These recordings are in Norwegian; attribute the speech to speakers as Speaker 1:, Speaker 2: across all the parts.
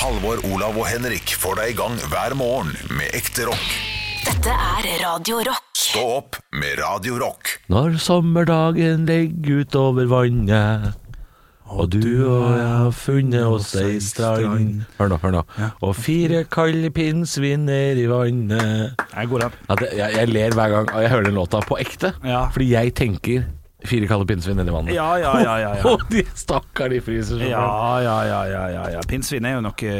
Speaker 1: Halvor, Olav og Henrik får deg i gang hver morgen med ekte rock.
Speaker 2: Dette er Radio Rock.
Speaker 1: Stå opp med Radio Rock.
Speaker 3: Når sommerdagen legger utover vannet og du og jeg har funnet oss ei strand Hør nå, hør nå. Og fire kalde pinnsviner i vannet
Speaker 4: Jeg går opp.
Speaker 3: ja, det, jeg, jeg ler hver gang jeg hører den låta på ekte,
Speaker 4: Ja.
Speaker 3: fordi jeg tenker fire kalde pinnsviner i vannet.
Speaker 4: Ja, ja, ja, ja, ja.
Speaker 3: Og de stakkar, de fryser sånn.
Speaker 4: Ja, ja, ja, ja, ja, ja. Pinnsvin er jo noe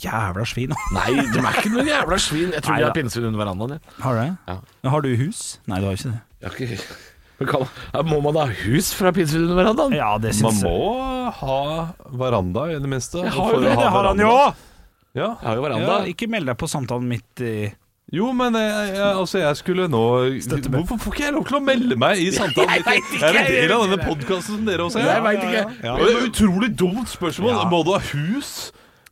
Speaker 4: jævla svin.
Speaker 3: Nei, de er ikke noen jævla svin. Jeg tror de
Speaker 4: Neida.
Speaker 3: har pinnsvin under verandaen. jeg.
Speaker 4: Har du det?
Speaker 3: Ja.
Speaker 4: Men Har du hus? Nei, du har ikke det.
Speaker 3: Jeg har ikke... Men kan- Ja, Må man ha hus fra pinnsvin under verandaen?
Speaker 4: Ja, det
Speaker 5: Man
Speaker 4: syns jeg.
Speaker 5: må ha veranda i det minste.
Speaker 3: Jeg har jo
Speaker 5: For å
Speaker 3: det,
Speaker 5: ha
Speaker 4: Det har han
Speaker 5: veranda-
Speaker 4: jo!
Speaker 5: Ja.
Speaker 3: Jeg har jo veranda.
Speaker 4: Ja, ikke meld deg på samtalen midt i
Speaker 5: Jo, men jeg, jeg, altså, jeg skulle nå Hvorfor får ikke jeg lov til å melde meg i samtalen?
Speaker 3: Jeg vet ikke,
Speaker 5: Jeg er en
Speaker 3: jeg
Speaker 5: del av
Speaker 3: vet
Speaker 5: denne podkasten som dere også er.
Speaker 3: Jeg veit ikke.
Speaker 5: Ja. Det er et utrolig dumt spørsmål.
Speaker 4: Ja.
Speaker 5: Må du ha hus?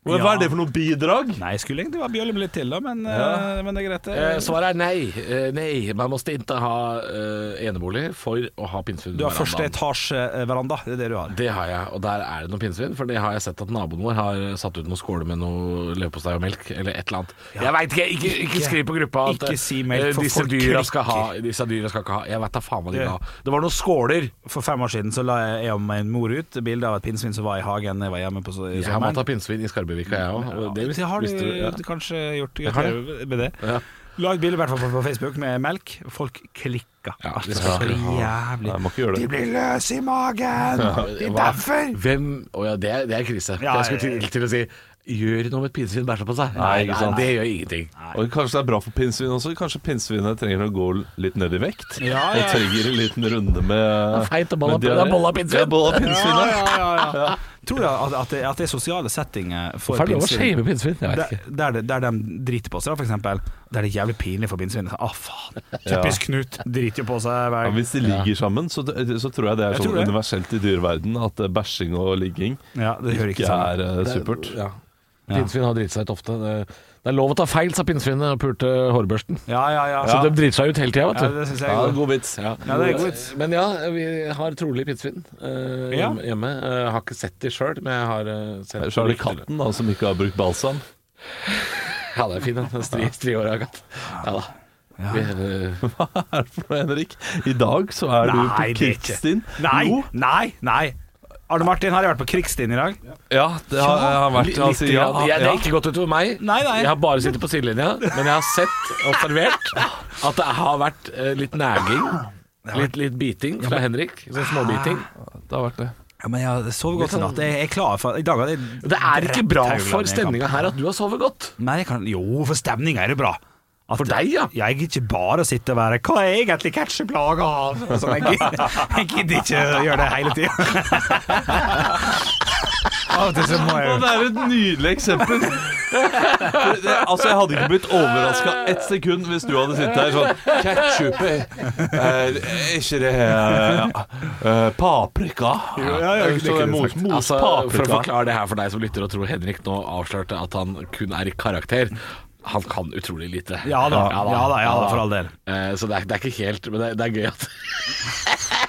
Speaker 5: Hva
Speaker 4: Ja.
Speaker 5: er det for noe bidrag?
Speaker 4: Nei, jeg skulle egentlig bare bjølle litt til, da, men,
Speaker 5: Ja.
Speaker 4: eh, men det er greit.
Speaker 3: Eh,
Speaker 4: det.
Speaker 3: Svaret er nei. Eh, Nei, man måste ikke ha eh, enebolig for å ha pinnsvin. under
Speaker 4: Du har første
Speaker 3: verandaen.
Speaker 4: etasje-veranda. Det er det du har.
Speaker 3: Det har jeg, og der er det noen pinnsvin. For det har jeg sett at naboen vår har eh, satt ut noen skåler med noe leverpostei og melk, eller et eller annet. Jeg veit ikke, ikke! Ikke skriv på gruppa at
Speaker 4: ikke si melk,
Speaker 3: eh,
Speaker 4: for
Speaker 3: disse
Speaker 4: folk
Speaker 3: dyra skal ha
Speaker 4: klikker.
Speaker 3: Disse dyra skal ikke ha Jeg veit da faen hva de
Speaker 4: Det-
Speaker 3: vil ha. Det var noen skåler.
Speaker 4: For fem år siden så la jeg- jeg og min mor ut et bilde av et pinnsvin som var i hagen da jeg var hjemme på so- i
Speaker 3: Jeg har
Speaker 4: sommeren.
Speaker 3: måttet ha pinnsvin i Skarbevika, jeg òg. Og det
Speaker 4: det har du
Speaker 3: visste du. Ja.
Speaker 4: kanskje gjort.
Speaker 3: har det.
Speaker 4: gratulerer med det.
Speaker 3: Ja.
Speaker 4: Lag bilde i hvert fall på Facebook med melk. Folk klikka.
Speaker 3: Ja,
Speaker 4: Altså,
Speaker 3: det skal
Speaker 4: så
Speaker 3: du
Speaker 4: jævlig.
Speaker 5: Nei, jeg må ikke gjøre det.
Speaker 4: De blir løse i magen! De dafer!
Speaker 3: Hvem Å ja, det er, det er krise.
Speaker 4: Ja,
Speaker 3: jeg skulle
Speaker 4: ja, ja.
Speaker 3: til, til å si Gjør noe med et pinnsvin bæsjer på seg.
Speaker 5: Nei, ikke sant.
Speaker 3: Det gjør ingenting.
Speaker 5: Og kanskje det er bra for pinnsvin også. Kanskje pinnsvinet trenger å gå litt ned i vekt.
Speaker 4: Ja, ja.
Speaker 5: Og trenger en liten runde
Speaker 3: Det
Speaker 5: med
Speaker 3: er feit å bolle-
Speaker 5: med diaré.
Speaker 3: det er bolle av pinnsvin.
Speaker 5: Det er bolle av pinnsvin, ja.
Speaker 4: Tror du at, at, det, at det er sosiale settinger for
Speaker 3: Hvorfor er det lov å
Speaker 4: pinnsvin?
Speaker 3: shame pinnsvin? Jeg vet
Speaker 4: Der,
Speaker 3: ikke.
Speaker 4: der, det- der de driter på seg, da, for eksempel. Der det er jævlig pinlig for pinnsvinet. Å, faen. Typisk Knut. Driter jo på seg hver
Speaker 5: Ja, hvis de ligger sammen, så, så tror jeg det er
Speaker 4: Jeg tror
Speaker 5: sånn
Speaker 4: det.
Speaker 5: universelt i dyreverden at eh, bæsjing og ligging
Speaker 4: Ja, det hører
Speaker 5: ikke
Speaker 4: ikke sånn. sammen.
Speaker 5: er eh, supert.
Speaker 3: Ja. Pinnsvin har driti seg ut ofte. Det, det er lov å ta feil, sa pinnsvinet og pulte hårbørsten.
Speaker 4: Ja, ja, ja.
Speaker 3: Så de driter seg ut hele tida,
Speaker 4: ja
Speaker 3: vet du.
Speaker 4: det syns jeg er godt.
Speaker 5: god vits.
Speaker 4: Ja, det er godt.
Speaker 3: Men ja, vi har trolig pinnsvin eh,
Speaker 4: Ja.
Speaker 3: hjemme- hjemme. Eh, Jeg har ikke sett de sjøl, men jeg har eh, sett
Speaker 5: Så er det katten da, som ikke har brukt balsam.
Speaker 3: Ja, det er fin, den. En stri, strihåra katt. Ja da. Vi, eh,
Speaker 5: Hva er det for noe, Henrik? I dag så er du på
Speaker 4: Nei, det er ikke-
Speaker 5: Kidstin.
Speaker 4: Nei,
Speaker 5: Jo,
Speaker 4: nei, nei. Arne Martin, har jeg vært på krigsstien i dag?
Speaker 5: ja, det har jeg har vært.
Speaker 3: litt
Speaker 5: Altså, ja,
Speaker 3: grann. Jeg- Det
Speaker 5: ja.
Speaker 3: har ikke gått utover meg.
Speaker 4: Nei, nei.
Speaker 3: Jeg har bare sittet på sidelinja, men jeg har sett og observert at det har vært eh, litt næging. Litt, litt biting fra Henrik. Sånn småbiting.
Speaker 5: Det har vært det.
Speaker 4: Ja, men jeg sover godt i
Speaker 3: kan-
Speaker 4: natt. Jeg er klar for I dag er det
Speaker 3: Det er ikke bra
Speaker 4: Rett
Speaker 3: for
Speaker 4: Haugland i
Speaker 3: stemninga her at du har sovet godt.
Speaker 4: Nei, jeg kan Jo, for stemninga er det bra. At
Speaker 3: For deg, ja.
Speaker 4: Jeg gidder ikke bare å sitte og være Hva er egentlig catcheplaga av? Sånn, jeg, gidder, jeg gidder ikke å gjøre det hele tida. Av og til så må
Speaker 5: Ja,
Speaker 4: jeg jo
Speaker 5: det er et nydelig eksempel. For Det, altså, Jeg hadde ikke blitt overraska ett sekund hvis du hadde sittet her sånn Ketsjup Er ikke det eh, eh, Paprika?
Speaker 4: ja, ja, det
Speaker 5: Så
Speaker 4: kunne du
Speaker 5: mos,
Speaker 4: sagt.
Speaker 5: mos
Speaker 3: Altså, for å
Speaker 5: paprika.
Speaker 3: forklare det her for deg som lytter og tror Henrik nå avslørte at han kun er i karakter. Han kan utrolig lite.
Speaker 4: Ja da, ja da, ja da, for all del.
Speaker 3: Eh, Så det er, det er ikke helt Men det, det er gøy at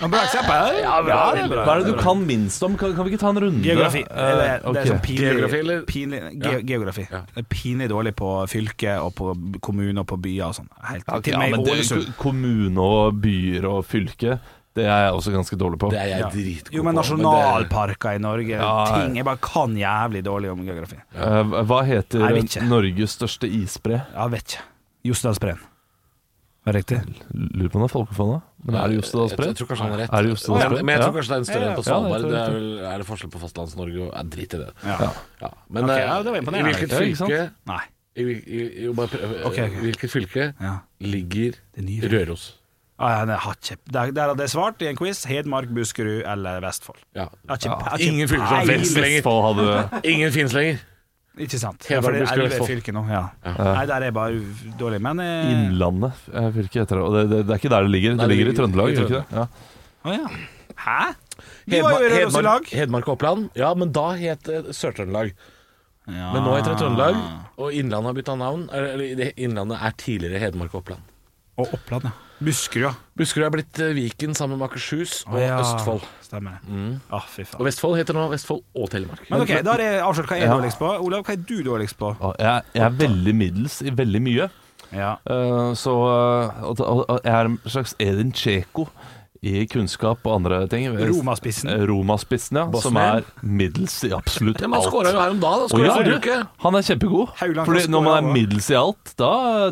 Speaker 4: Men Bra eksempel. Ja, bra, det er bra.
Speaker 5: Hva er det du kan minst om? Kan, kan vi ikke ta en runde?
Speaker 4: Geografi.
Speaker 5: Eh,
Speaker 4: det, er- det er
Speaker 5: ok.
Speaker 4: sånn pinlig,
Speaker 3: Geografi, eller?
Speaker 4: Pinlig, ge, Geografi.
Speaker 3: Ja.
Speaker 4: Det er Pinlig dårlig på fylke og på kommune og på byer og sånn. Helt
Speaker 5: Ok,
Speaker 4: Til og
Speaker 5: ja,
Speaker 4: med
Speaker 5: men
Speaker 4: i
Speaker 5: det,
Speaker 4: Ålesund.
Speaker 5: kommune og byer og fylke, det er jeg også ganske dårlig på.
Speaker 3: Det er jeg
Speaker 4: Ja.
Speaker 3: dritgod
Speaker 4: Jo, men
Speaker 3: på, det-
Speaker 4: nasjonalparker i Norge,
Speaker 5: Ja, ja.
Speaker 4: ting Jeg bare kan jævlig dårlig om geografi.
Speaker 5: Eh, Hva heter
Speaker 4: Jeg vet ikke.
Speaker 5: Norges største isbre?
Speaker 4: Jeg vet ikke. Jostedalsbreen. Var det riktig?
Speaker 5: Lurer på om det er Folkefonda? Men er det
Speaker 3: Jeg,
Speaker 5: Jostedalsbreen?
Speaker 3: jeg tror kanskje han har rett.
Speaker 5: Er det
Speaker 3: Men
Speaker 5: Jostedalsbreen?
Speaker 3: jeg- Men jeg tror
Speaker 5: Ja.
Speaker 3: kanskje det er en større enn på
Speaker 5: Ja, ja, ja,
Speaker 3: Svalbard.
Speaker 5: jeg tror
Speaker 3: det er,
Speaker 5: det.
Speaker 3: vel, er det forskjell på Fastlands-Norge og ja, Drit i det.
Speaker 4: Ja.
Speaker 3: Ja. Men
Speaker 4: Ok,
Speaker 3: eh,
Speaker 4: ja, det var
Speaker 3: i
Speaker 4: imponerende.
Speaker 3: hvilket
Speaker 5: Ja, ikke sant?
Speaker 3: fylke
Speaker 4: Nei.
Speaker 3: i, hvil- i, jo, bare prøv, eh,
Speaker 4: Ok, ok.
Speaker 3: Hvilket fylke
Speaker 4: Ja.
Speaker 3: ligger
Speaker 4: Det nye
Speaker 3: Røros?
Speaker 4: Ah, ja, nei, jeg har ikke Der der hadde jeg svart i en quiz Hedmark, Buskerud eller Vestfold.
Speaker 3: Ja.
Speaker 4: Jeg har ikke- jeg har ikke
Speaker 3: Ingen fylker som
Speaker 4: peiling.
Speaker 3: finnes lenger.
Speaker 5: Vestfold hadde
Speaker 3: Ingen finnes lenger.
Speaker 4: Ikke sant.
Speaker 3: Hedmark,
Speaker 4: for det er
Speaker 3: Buskerud,
Speaker 4: elleve
Speaker 3: Vestfold.
Speaker 4: fylker nå. Ja. Nei, der er jeg bare u- dårlig. Men eh,
Speaker 5: Innlandet eh, fylke heter det. Og det, det, det er ikke der det ligger.
Speaker 3: Nei,
Speaker 5: Det
Speaker 3: det
Speaker 5: ligger i
Speaker 3: ligger- i
Speaker 5: Trøndelag, gjør det ikke det?
Speaker 4: Å ja. Hæ? Vi var jo i Røros i
Speaker 3: Hedmark,
Speaker 4: lag.
Speaker 3: Hedmark og Oppland. Ja, men da het det Sør-Trøndelag. Men
Speaker 4: Ah.
Speaker 3: nå heter det Trøndelag, og Innlandet har bytta navn. Eller eller, det- Innlandet er tidligere Hedmark og Oppland.
Speaker 4: Å Og Oppland, ja. Buskerud, ja.
Speaker 3: Buskerud er blitt eh, Viken sammen med Akershus og
Speaker 4: Å, ja.
Speaker 3: Østfold. Mm.
Speaker 4: Stemmer det. Å, fy faen.
Speaker 3: Og Vestfold heter nå Vestfold og Telemark.
Speaker 4: Men ok, da har jeg avslørt hva jeg er dårligst på. Olav, hva er du dårligst på?
Speaker 5: Ja, Jeg, jeg er veldig middels i veldig mye.
Speaker 4: Ja.
Speaker 5: Eh, så eh, at- at- at jeg er en slags Edin Tsjeko i kunnskap og andre ting.
Speaker 4: Romaspissen.
Speaker 5: Eh, Romaspissen, ja. Som
Speaker 3: Bosnien.
Speaker 5: er middels i absolutt
Speaker 3: Ja, men han skåra jo
Speaker 5: alt.
Speaker 3: her om dagen. Han
Speaker 5: Å,
Speaker 3: skåra
Speaker 5: ja,
Speaker 3: forrige
Speaker 5: du,
Speaker 3: uke.
Speaker 5: han er kjempegod.
Speaker 4: Hauland
Speaker 5: Fordi
Speaker 4: kan
Speaker 5: når man
Speaker 4: score
Speaker 5: er
Speaker 4: også.
Speaker 5: middels i alt, da,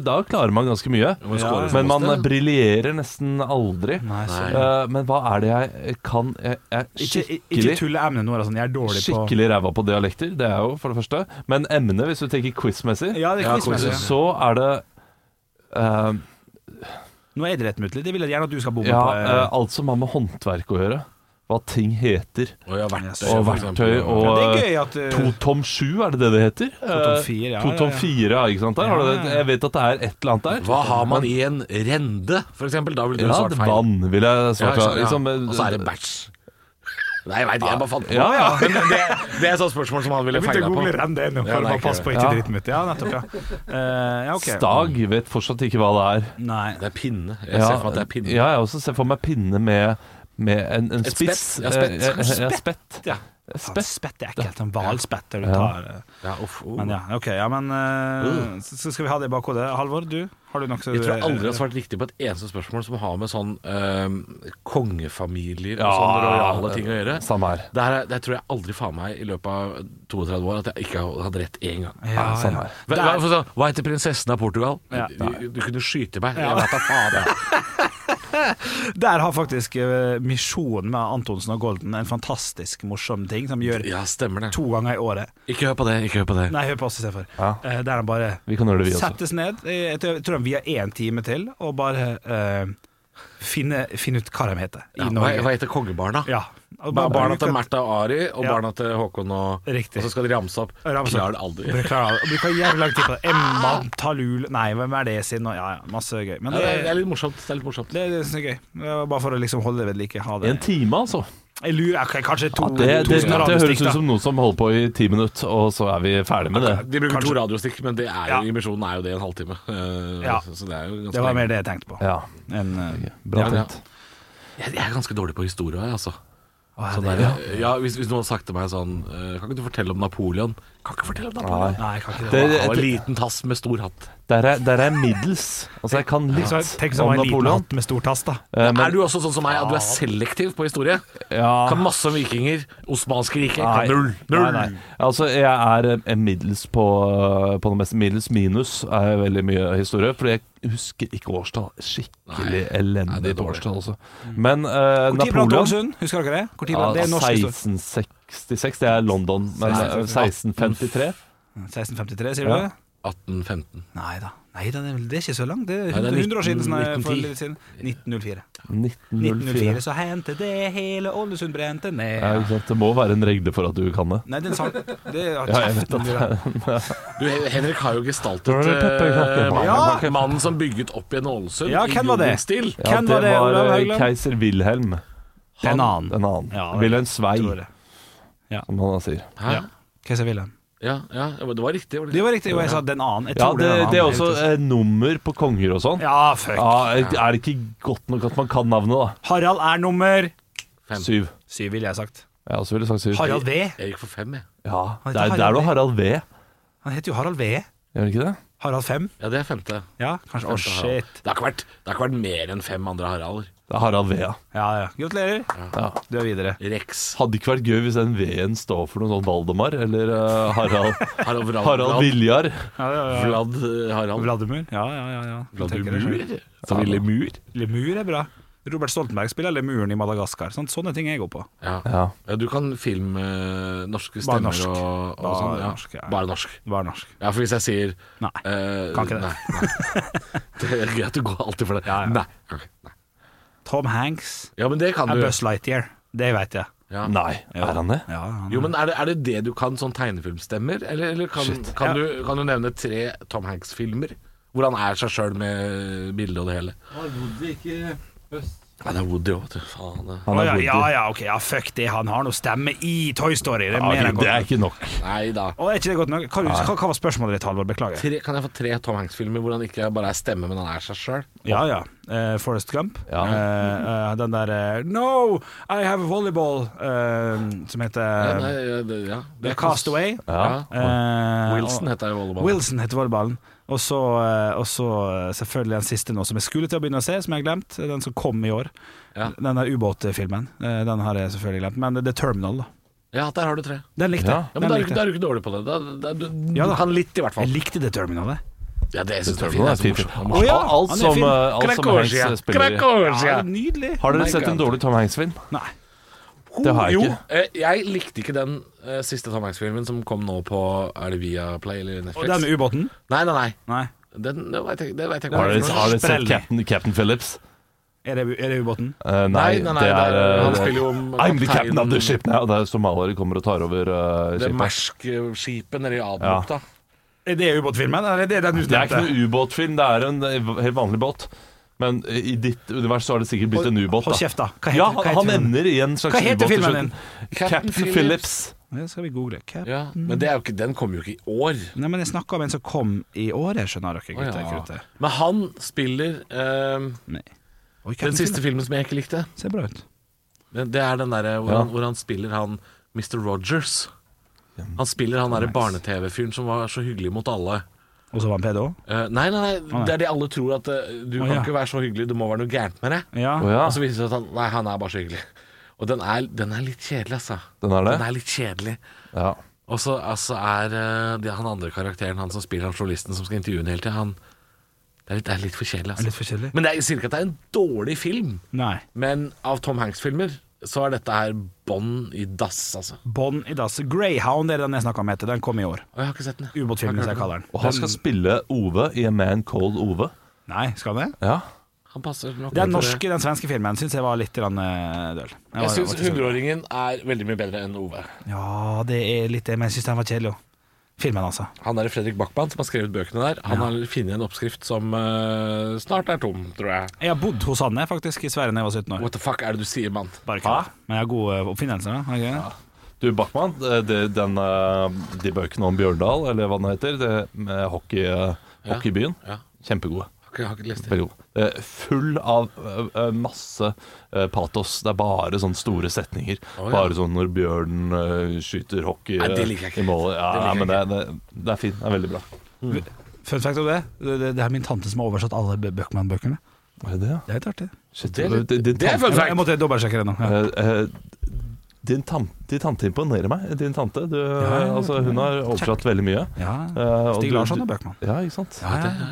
Speaker 5: da klarer man ganske mye.
Speaker 3: man scorer som
Speaker 5: Men man
Speaker 3: Bosnien.
Speaker 5: briljerer nesten aldri.
Speaker 4: Nei, så-
Speaker 5: Eh, men hva er det jeg kan Jeg jeg er
Speaker 4: Ikke,
Speaker 5: skikkelig
Speaker 4: ikke tull med emnene våre. Sånn. Jeg er dårlig på
Speaker 5: Skikkelig ræva på dialekter, det er jeg jo, for det første. Men emnet, hvis du tenker quiz-messig,
Speaker 4: Ja, det er
Speaker 3: Ja,
Speaker 4: quizmessig.
Speaker 3: quiz.
Speaker 5: så er det eh,
Speaker 4: Nå er jeg rett muttlig. Det vil jeg gjerne at du skal bomme
Speaker 5: Ja,
Speaker 4: på.
Speaker 5: eh, alt som har med håndverk å gjøre. Hva ting heter.
Speaker 3: Og ja, verktøy,
Speaker 5: Og
Speaker 3: for
Speaker 5: verktøy
Speaker 3: eksempel.
Speaker 5: og
Speaker 4: Ja, det er gøy at eh,
Speaker 5: To tom sju, er det det det heter?
Speaker 4: tom fire, ja,
Speaker 5: To tom
Speaker 4: ja, ja.
Speaker 5: fire, ja, ikke sant? Der, har du det, jeg vet at det er et eller annet der.
Speaker 3: Hva har man i en rende, for eksempel? Da ville du
Speaker 5: Ja,
Speaker 3: svart feil.
Speaker 5: vann, vil jeg
Speaker 3: Ja,
Speaker 5: svart. Ja,
Speaker 3: ikke sant,
Speaker 5: liksom,
Speaker 3: ja.
Speaker 5: eh,
Speaker 3: Og så er det bæsj. Nei, jeg veit ikke, jeg bare fant på
Speaker 5: Ja, ja.
Speaker 3: Men det. Det er sånne spørsmål som han ville
Speaker 4: Jeg begynte
Speaker 3: feila
Speaker 4: å
Speaker 3: på.
Speaker 4: google renn det nå,
Speaker 3: Ja,
Speaker 4: for
Speaker 3: nei,
Speaker 4: å passe på
Speaker 3: ikke
Speaker 4: ikke
Speaker 5: det.
Speaker 4: drite meg ut. Ja, nettopp, ja. Eh, ja, ok.
Speaker 5: Stag vet fortsatt ikke hva det er.
Speaker 4: Nei.
Speaker 3: Det er pinne. Jeg ser for meg at det er pinne.
Speaker 5: Ja, jeg også ser for meg pinne med, med en, en
Speaker 3: Et
Speaker 5: spiss.
Speaker 3: spett. Ja, spett.
Speaker 5: Eh, eh, Ja, spett.
Speaker 4: Ja. Spett. spett er ekkelt. En hvalspett der du
Speaker 5: Ja.
Speaker 4: tar eh,
Speaker 3: Ja, uff, oh.
Speaker 4: Men ja, ok. Ja, men eh, så så skal vi ha det i bakhodet. Halvor, du? Har du nok så
Speaker 3: Jeg tror jeg aldri har svart riktig på et eneste spørsmål som har med sånn eh, kongefamilier og
Speaker 5: Ja,
Speaker 3: sånne rojale ting å gjøre.
Speaker 5: Samme Sånn her.
Speaker 3: Det, her, er- det tror jeg aldri faen meg i løpet av 32 år at jeg ikke har hatt rett én gang.
Speaker 4: Ja,
Speaker 5: Ja, samme
Speaker 4: ja.
Speaker 5: her.
Speaker 3: Hva, hva, for sånn, hva heter prinsessen av Portugal?
Speaker 4: Ja.
Speaker 3: Du, du kunne skyte meg. Jeg vet da faen. jeg.
Speaker 4: Der har faktisk eh, Misjonen med Antonsen og Golden en fantastisk morsom ting som gjør
Speaker 3: Ja, stemmer det.
Speaker 4: to ganger i året.
Speaker 3: Ikke hør på det. ikke hør på det
Speaker 4: Nei, hør på oss istedenfor.
Speaker 5: Ja.
Speaker 4: Eh, Der han bare
Speaker 5: Vi kan gjøre det, vi også.
Speaker 4: settes ned. eh, Jeg tror jeg tror han vi har én time til, og bare eh, finne, finne ut hva de heter i
Speaker 3: Ja, hva,
Speaker 4: Norge.
Speaker 3: hva heter kongebarna?
Speaker 4: Ja. Og
Speaker 3: Ba-
Speaker 4: bare-
Speaker 3: Barna til
Speaker 4: bruker-
Speaker 3: Märtha og Ari og
Speaker 4: Ja.
Speaker 3: barna til Håkon og
Speaker 4: Riktig.
Speaker 3: Og så skal de ramse opp.
Speaker 4: Ramse opp.
Speaker 3: Klarer det aldri.
Speaker 4: Bare klarer det. Og Bruker jævlig lang tid på det. Emma Talul Nei, hvem er det sin? Og Ja, ja, masse gøy. Men
Speaker 3: Ja,
Speaker 4: det,
Speaker 3: det, er, det
Speaker 4: det,
Speaker 3: er litt morsomt. Det er litt morsomt.
Speaker 4: det, synes jeg er gøy. Det var Bare for å liksom holde det ved like. Ha det.
Speaker 5: En time, altså.
Speaker 4: Jeg lurer ok, kanskje to,
Speaker 5: Ja, det,
Speaker 4: to
Speaker 5: det, det,
Speaker 4: sånne
Speaker 5: høres
Speaker 4: radiostikk,
Speaker 5: ut
Speaker 4: da.
Speaker 5: som noen som holder på i ti minutter, og så er vi ferdig med det.
Speaker 3: De bruker to radiostikk, men det er jo,
Speaker 4: Ja.
Speaker 3: emisjonen er jo det en halvtime. Eh,
Speaker 4: Ja.
Speaker 3: Så det er jo ganske
Speaker 4: Det var
Speaker 3: lenge.
Speaker 4: mer det jeg tenkte på.
Speaker 5: Ja,
Speaker 4: enn, eh,
Speaker 5: bra
Speaker 3: Ja, ja.
Speaker 5: tenkt.
Speaker 3: Jeg, jeg er ganske dårlig på historie, jeg, altså.
Speaker 4: å,
Speaker 3: Sånn
Speaker 4: det-
Speaker 3: der, eh, ja, hvis, hvis noen hadde sagt til meg sånn eh, Kan ikke du fortelle om Napoleon? Kan ikke fortelle om Napoleon.
Speaker 5: Nei.
Speaker 4: Nei, jeg kan ikke det.
Speaker 5: Det-
Speaker 3: Han var en liten tass med stor hatt.
Speaker 5: Der er, der er middels. Altså, jeg kan litt
Speaker 4: Så tenk som
Speaker 5: om
Speaker 4: en liten
Speaker 5: Napoleon.
Speaker 4: hatt med stor tass, da.
Speaker 5: eh,
Speaker 3: er
Speaker 5: Men
Speaker 3: du også sånn som meg, at du er selektiv på historie? Kan
Speaker 5: ja
Speaker 3: masse om vikinger. Osmanske riket.
Speaker 5: Nei.
Speaker 3: Kan null.
Speaker 5: Nei,
Speaker 3: Null.
Speaker 5: nei. Altså, jeg er eh, middels på, eh, på det meste. Middels minus er veldig mye historie, Fordi jeg husker ikke årstall. Skikkelig
Speaker 3: Nei,
Speaker 5: elendig
Speaker 3: det er
Speaker 5: på
Speaker 3: dårlig.
Speaker 5: årstall, altså. Men eh,
Speaker 4: Mm. Hvor tid brant
Speaker 5: Napoleon
Speaker 4: Ålesund? Husker dere det? Hvor tid
Speaker 5: ja,
Speaker 4: brant- det er norsk historie.
Speaker 5: 1666, det er London. Men eh, 1653
Speaker 4: 1653, sier
Speaker 5: Ja.
Speaker 4: du det?
Speaker 3: 1815.
Speaker 4: Nei da. Nei da, det er vel- det er ikke så langt. Det er
Speaker 3: Nei, det er
Speaker 4: 100 år siden. Sånn,
Speaker 3: 1910.
Speaker 4: for litt siden. 1904. 1904
Speaker 5: 1904.
Speaker 4: så hendte det hele Ålesund brente ned.
Speaker 5: Ja, ikke sant? Det må være en regle for at du kan det.
Speaker 4: Nei, den sang Det er
Speaker 5: Ja, jeg vet
Speaker 4: kjeften du der.
Speaker 3: Du, Henrik har jo gestaltet
Speaker 5: Var det pepperkake?
Speaker 3: eh,
Speaker 4: Ja.
Speaker 3: mannen- mannen som bygget opp igjen Ålesund
Speaker 4: Ja,
Speaker 3: i
Speaker 4: hvem var det?
Speaker 3: jugendstil.
Speaker 5: Ja,
Speaker 4: Hvem
Speaker 5: det
Speaker 4: var det,
Speaker 5: var
Speaker 4: Olav
Speaker 5: eh,
Speaker 4: Haugland?
Speaker 5: keiser Wilhelm.
Speaker 4: Den annen.
Speaker 5: Den annen.
Speaker 4: Ja, vel,
Speaker 5: Wilhelm Svei,
Speaker 4: tror jeg.
Speaker 5: som han da sier.
Speaker 3: Hæ?
Speaker 4: Ja. Hva sa Wilhelm?
Speaker 3: Ja, ja, det var- det var riktig. Var det?
Speaker 4: Det var riktig, og jeg sa den annen. Jeg
Speaker 5: Ja,
Speaker 4: tror
Speaker 5: det,
Speaker 4: den annen.
Speaker 5: det er også eh, nummer på konger og sånn.
Speaker 4: Ja, fuck.
Speaker 5: Ja, er det ikke godt nok at man kan navnet,
Speaker 4: Harald er nummer
Speaker 5: da?
Speaker 3: Fem.
Speaker 5: Syv.
Speaker 4: Syv, ville jeg sagt.
Speaker 5: Jeg har også ville sagt syv.
Speaker 4: Harald V.
Speaker 3: Jeg gikk for fem, jeg.
Speaker 5: Ja,
Speaker 4: Han heter
Speaker 5: det er der
Speaker 4: Harald
Speaker 5: du
Speaker 4: V.
Speaker 5: har Harald V.
Speaker 4: Han heter jo Harald V.
Speaker 5: Gjør han ikke det?
Speaker 4: Harald 5.
Speaker 3: Ja, det er femte.
Speaker 4: Ja, kanskje.
Speaker 3: Femte
Speaker 4: Å,
Speaker 3: Harald.
Speaker 4: shit.
Speaker 3: Det har ikke vært, det har ikke vært mer enn fem andre Haralder.
Speaker 5: Det er Harald V, ja.
Speaker 4: Ja, ja. Gratulerer.
Speaker 5: ja.
Speaker 4: Du er videre.
Speaker 3: Rex.
Speaker 5: Hadde ikke vært gøy hvis den V-en står for noe sånn Valdemar eller eh, Harald,
Speaker 3: Harald Vrald.
Speaker 5: Harald Viljar.
Speaker 4: Ja, ja, ja.
Speaker 3: Vlad eh, Harald.
Speaker 4: Vladimir. Ja, ja, ja. ja. Tenker det selv.
Speaker 3: Vladimir? Som Ville Mur?
Speaker 4: Lemur er bra. Robert Stoltenberg spiller Lemuren i Madagaskar. Sånn, sånne ting er jeg god på.
Speaker 3: Ja.
Speaker 5: Ja.
Speaker 3: ja, du kan film eh, norske
Speaker 4: Bare
Speaker 3: stemmer
Speaker 4: norsk.
Speaker 3: og, og
Speaker 4: Bare
Speaker 3: sånn. Ja.
Speaker 4: norsk, ja.
Speaker 3: Bare norsk.
Speaker 4: Bare norsk.
Speaker 3: Ja, for hvis jeg sier
Speaker 4: Nei.
Speaker 3: eh,
Speaker 4: Kan ikke det.
Speaker 3: Nei, nei. Det er greit, du går alltid for det.
Speaker 4: Ja, ja.
Speaker 3: Nei. kan ikke. nei.
Speaker 4: Tom Hanks
Speaker 3: Ja, men det kan
Speaker 4: er
Speaker 3: du.
Speaker 4: Buzz Lightyear. Det vet jeg.
Speaker 3: Ja.
Speaker 5: Nei, er han det?
Speaker 4: Ja, han-
Speaker 3: Jo, men er det, er det det du kan sånn tegnefilmstemmer? Eller, eller kan, kan,
Speaker 4: Ja.
Speaker 3: du, kan du nevne tre Tom Hanks-filmer? Hvor han er seg sjøl med bilde og det hele.
Speaker 6: Har bodd i ikke øst
Speaker 3: Han er Woody òg, vet du. Faen. det-
Speaker 5: Han
Speaker 4: Å,
Speaker 5: er
Speaker 4: ja,
Speaker 5: Woody.
Speaker 4: ja, ja, ok, ja, fuck det. Han har noe stemme i Toy Story. Det er
Speaker 5: Ja,
Speaker 4: mer enn
Speaker 5: det er
Speaker 4: godt.
Speaker 5: ikke nok.
Speaker 3: Nei da.
Speaker 4: Å, er ikke det godt nok? Hva, hva, hva var spørsmålet ditt, Halvor? Beklager.
Speaker 3: Tre, kan jeg få tre Tom Hanks-filmer hvor han ikke bare er stemme, men han er seg sjøl?
Speaker 4: Ja, ja. Eh, Forrest Gump.
Speaker 5: Ja.
Speaker 4: Eh, eh, den der eh, No, I have a volleyball, eh, som
Speaker 3: Ja,
Speaker 4: heter
Speaker 3: nei, ja, det- ja.
Speaker 4: The
Speaker 3: Det er kos-
Speaker 4: Castaway.
Speaker 3: Ja.
Speaker 4: Eh,
Speaker 3: Wilson
Speaker 4: og-
Speaker 3: heter det i volleyballen.
Speaker 4: Wilson heter volleyballen. Og så, eh, og så eh, selvfølgelig den siste nå, som jeg skulle til å begynne å se, som jeg har glemt. eh, Den som kom i år.
Speaker 3: Ja.
Speaker 4: Den der ubåtfilmen. Eh, Den har jeg selvfølgelig glemt. Men The Terminal, da.
Speaker 3: Ja, der har du tre.
Speaker 4: Den likte jeg.
Speaker 5: Ja.
Speaker 3: Ja,
Speaker 4: Den
Speaker 3: men da er, du,
Speaker 4: likte
Speaker 3: ikke-
Speaker 4: jeg.
Speaker 3: da er du ikke dårlig på det. Da, da, du,
Speaker 4: Ja
Speaker 3: du
Speaker 4: da.
Speaker 3: kan litt, i hvert
Speaker 4: Jeg
Speaker 3: fall.
Speaker 4: likte The Terminal, jeg.
Speaker 3: Ja, det synes jeg
Speaker 5: Terminal
Speaker 3: er
Speaker 5: er fin
Speaker 3: fint. Det er så
Speaker 5: film.
Speaker 3: morsomt.
Speaker 4: ja,
Speaker 5: Alt- alt
Speaker 4: han er
Speaker 5: som,
Speaker 4: fin.
Speaker 5: eh, alt som Hanks
Speaker 3: Krakosja.
Speaker 5: spiller i.
Speaker 4: Ja,
Speaker 3: Krakosja.
Speaker 4: det er nydelig.
Speaker 5: Har dere
Speaker 3: My
Speaker 5: sett en
Speaker 3: God.
Speaker 5: dårlig Tom Hanks-film?
Speaker 4: Nei.
Speaker 5: Det har jeg
Speaker 3: Jo,
Speaker 5: ikke.
Speaker 3: eh, jeg likte ikke den eh, siste Tom Hanks-filmen som kom nå på Er det Viaplay eller
Speaker 4: Og den
Speaker 3: Netflix?
Speaker 4: med ubåten?
Speaker 3: Nei, nei, nei.
Speaker 4: Nei.
Speaker 3: Den, det vet jeg, det vet jeg ikke.
Speaker 5: Har
Speaker 3: hva
Speaker 5: dere,
Speaker 3: er for noe.
Speaker 5: har dere sett
Speaker 4: Sprellig.
Speaker 5: Captain, Captain Phillips?
Speaker 4: Er det, er det ubåten?
Speaker 5: Eh,
Speaker 3: Nei, nei, nei, det
Speaker 5: det er,
Speaker 3: er- han
Speaker 5: eh,
Speaker 3: spiller jo
Speaker 5: I'm the
Speaker 3: kaptein-
Speaker 5: captain of the ship now. Det er somaliere kommer og tar over eh,
Speaker 3: Det er
Speaker 5: skipet.
Speaker 3: Mersk-skipet nede i
Speaker 5: Ja.
Speaker 3: Adenbukta.
Speaker 4: Er det ubåtfilmen, eller er det den du
Speaker 5: Det er ikke
Speaker 4: nevnte?
Speaker 5: noen ubåtfilm, det er en eh, helt vanlig båt. Men eh, i ditt univers så har det sikkert blitt en ubåt,
Speaker 4: Hold
Speaker 5: da.
Speaker 4: kjeft, da. Hva heter,
Speaker 5: Ja,
Speaker 4: hva heter
Speaker 5: han
Speaker 4: filmen?
Speaker 5: ender i en slags
Speaker 4: Hva heter
Speaker 5: ubåt til
Speaker 4: filmen
Speaker 5: slutten.
Speaker 4: din?
Speaker 5: Captain Phillips.
Speaker 4: Det skal vi google. Cap.
Speaker 3: Ja. Men det er jo ikke, den kom jo ikke i år.
Speaker 4: Nei, men jeg snakka om en som kom i år, jeg skjønner dere, gutter.
Speaker 3: Å, ja.
Speaker 4: krutter.
Speaker 3: Men han spiller eh,
Speaker 4: Nei. Oi,
Speaker 3: den siste filmen som jeg ikke likte.
Speaker 4: ser bra ut.
Speaker 3: Det det er den derre hvor,
Speaker 5: Ja.
Speaker 3: han- hvor han spiller han Mr. Rogers. Han spiller han derre barne-TV-fyren som var så hyggelig mot alle.
Speaker 4: Og så var han pedo?
Speaker 3: Eh, nei, nei, nei,
Speaker 4: nei.
Speaker 3: det er det alle tror at eh, du
Speaker 4: Å,
Speaker 3: kan
Speaker 4: ja.
Speaker 3: ikke være så hyggelig, det må være noe gærent med deg.
Speaker 4: Ja.
Speaker 5: Å ja,
Speaker 3: Og så viser det seg at han, nei, han er bare så hyggelig. Og den er, den er litt kjedelig, altså.
Speaker 5: den er det?
Speaker 3: Den er litt kjedelig.
Speaker 5: Ja.
Speaker 3: Og så altså, er eh, det han andre karakteren, han som spiller han journalisten som skal intervjue henne hele tida, han det er, litt, det er litt for kjedelig,
Speaker 4: Er
Speaker 3: altså.
Speaker 4: litt for kjedelig?
Speaker 3: Men det er, jeg sier ikke at det er en dårlig film,
Speaker 4: Nei.
Speaker 3: men av Tom Hanks-filmer så er dette her bånn i dass, altså.
Speaker 4: Bånd i dass. Greyhound er den jeg snakka om, heter. Den kom i år.
Speaker 3: Og jeg har ikke sett den. jeg.
Speaker 4: Ubåtfilmen, som jeg
Speaker 3: Har
Speaker 4: kaller den.
Speaker 5: Og han skal spille Ove i A Man Called Ove.
Speaker 4: Nei, skal han det?
Speaker 5: Ja.
Speaker 3: Han passer nok
Speaker 4: Den
Speaker 3: til
Speaker 4: norske, den svenske filmen syns jeg var litt grann, eh, døl.
Speaker 3: det. Jeg syns 100-åringen er veldig mye bedre enn Ove.
Speaker 4: Ja, det er litt det, men jeg syns den var kjedelig òg. Filmen, altså.
Speaker 3: Han der Fredrik Backman som har skrevet bøkene der, han har funnet en oppskrift som eh, snart er tom, tror jeg.
Speaker 4: Jeg har bodd hos Anne, faktisk, i Sverige da jeg var 17 år.
Speaker 3: What the fuck er det du sier, mann?
Speaker 4: Bare kødda. Men jeg har gode oppfinnelser, da. har jeg ikke det?
Speaker 5: Du, Bachmann, eh, det- den, eh, de bøkene om Bjørndal, eller hva den heter, det med hockey, eh, hockeybyen,
Speaker 3: Ja.
Speaker 5: kjempegode.
Speaker 3: Har ikke, har ikke lest det.
Speaker 5: Veldig gode. Det er Full av eh, eh, masse eh, patos. Det er bare sånne store setninger.
Speaker 3: ja.
Speaker 5: Bare sånn når bjørnen eh, skyter hockey
Speaker 3: Nei, det
Speaker 5: eh,
Speaker 3: liker jeg ikke. Mm.
Speaker 5: i målet. Ja,
Speaker 3: Det liker jeg
Speaker 5: men det, det, det er fint. Det er veldig bra.
Speaker 4: Fun fact om det. Det, det, det er min tante som har oversatt alle Bø- Bøckmann-bøkene.
Speaker 5: Er det det, ja?
Speaker 4: Det er litt artig.
Speaker 5: Shit,
Speaker 3: Det er litt-
Speaker 5: din
Speaker 3: det er fun
Speaker 4: Jeg, må-
Speaker 5: tante-
Speaker 4: jeg
Speaker 3: fact!
Speaker 4: måtte dobbeltsjekke det nå. Ja.
Speaker 5: eh, eh, din, tam, din tante imponerer meg. Din tante, du,
Speaker 4: ja, ja.
Speaker 5: Altså, hun har oversatt veldig mye.
Speaker 4: Ja.
Speaker 5: Eh, og
Speaker 4: Stig
Speaker 5: du-
Speaker 4: Larsson
Speaker 5: du-
Speaker 4: og Bøckmann.
Speaker 5: Ja, ikke sant?
Speaker 4: Ja, ja.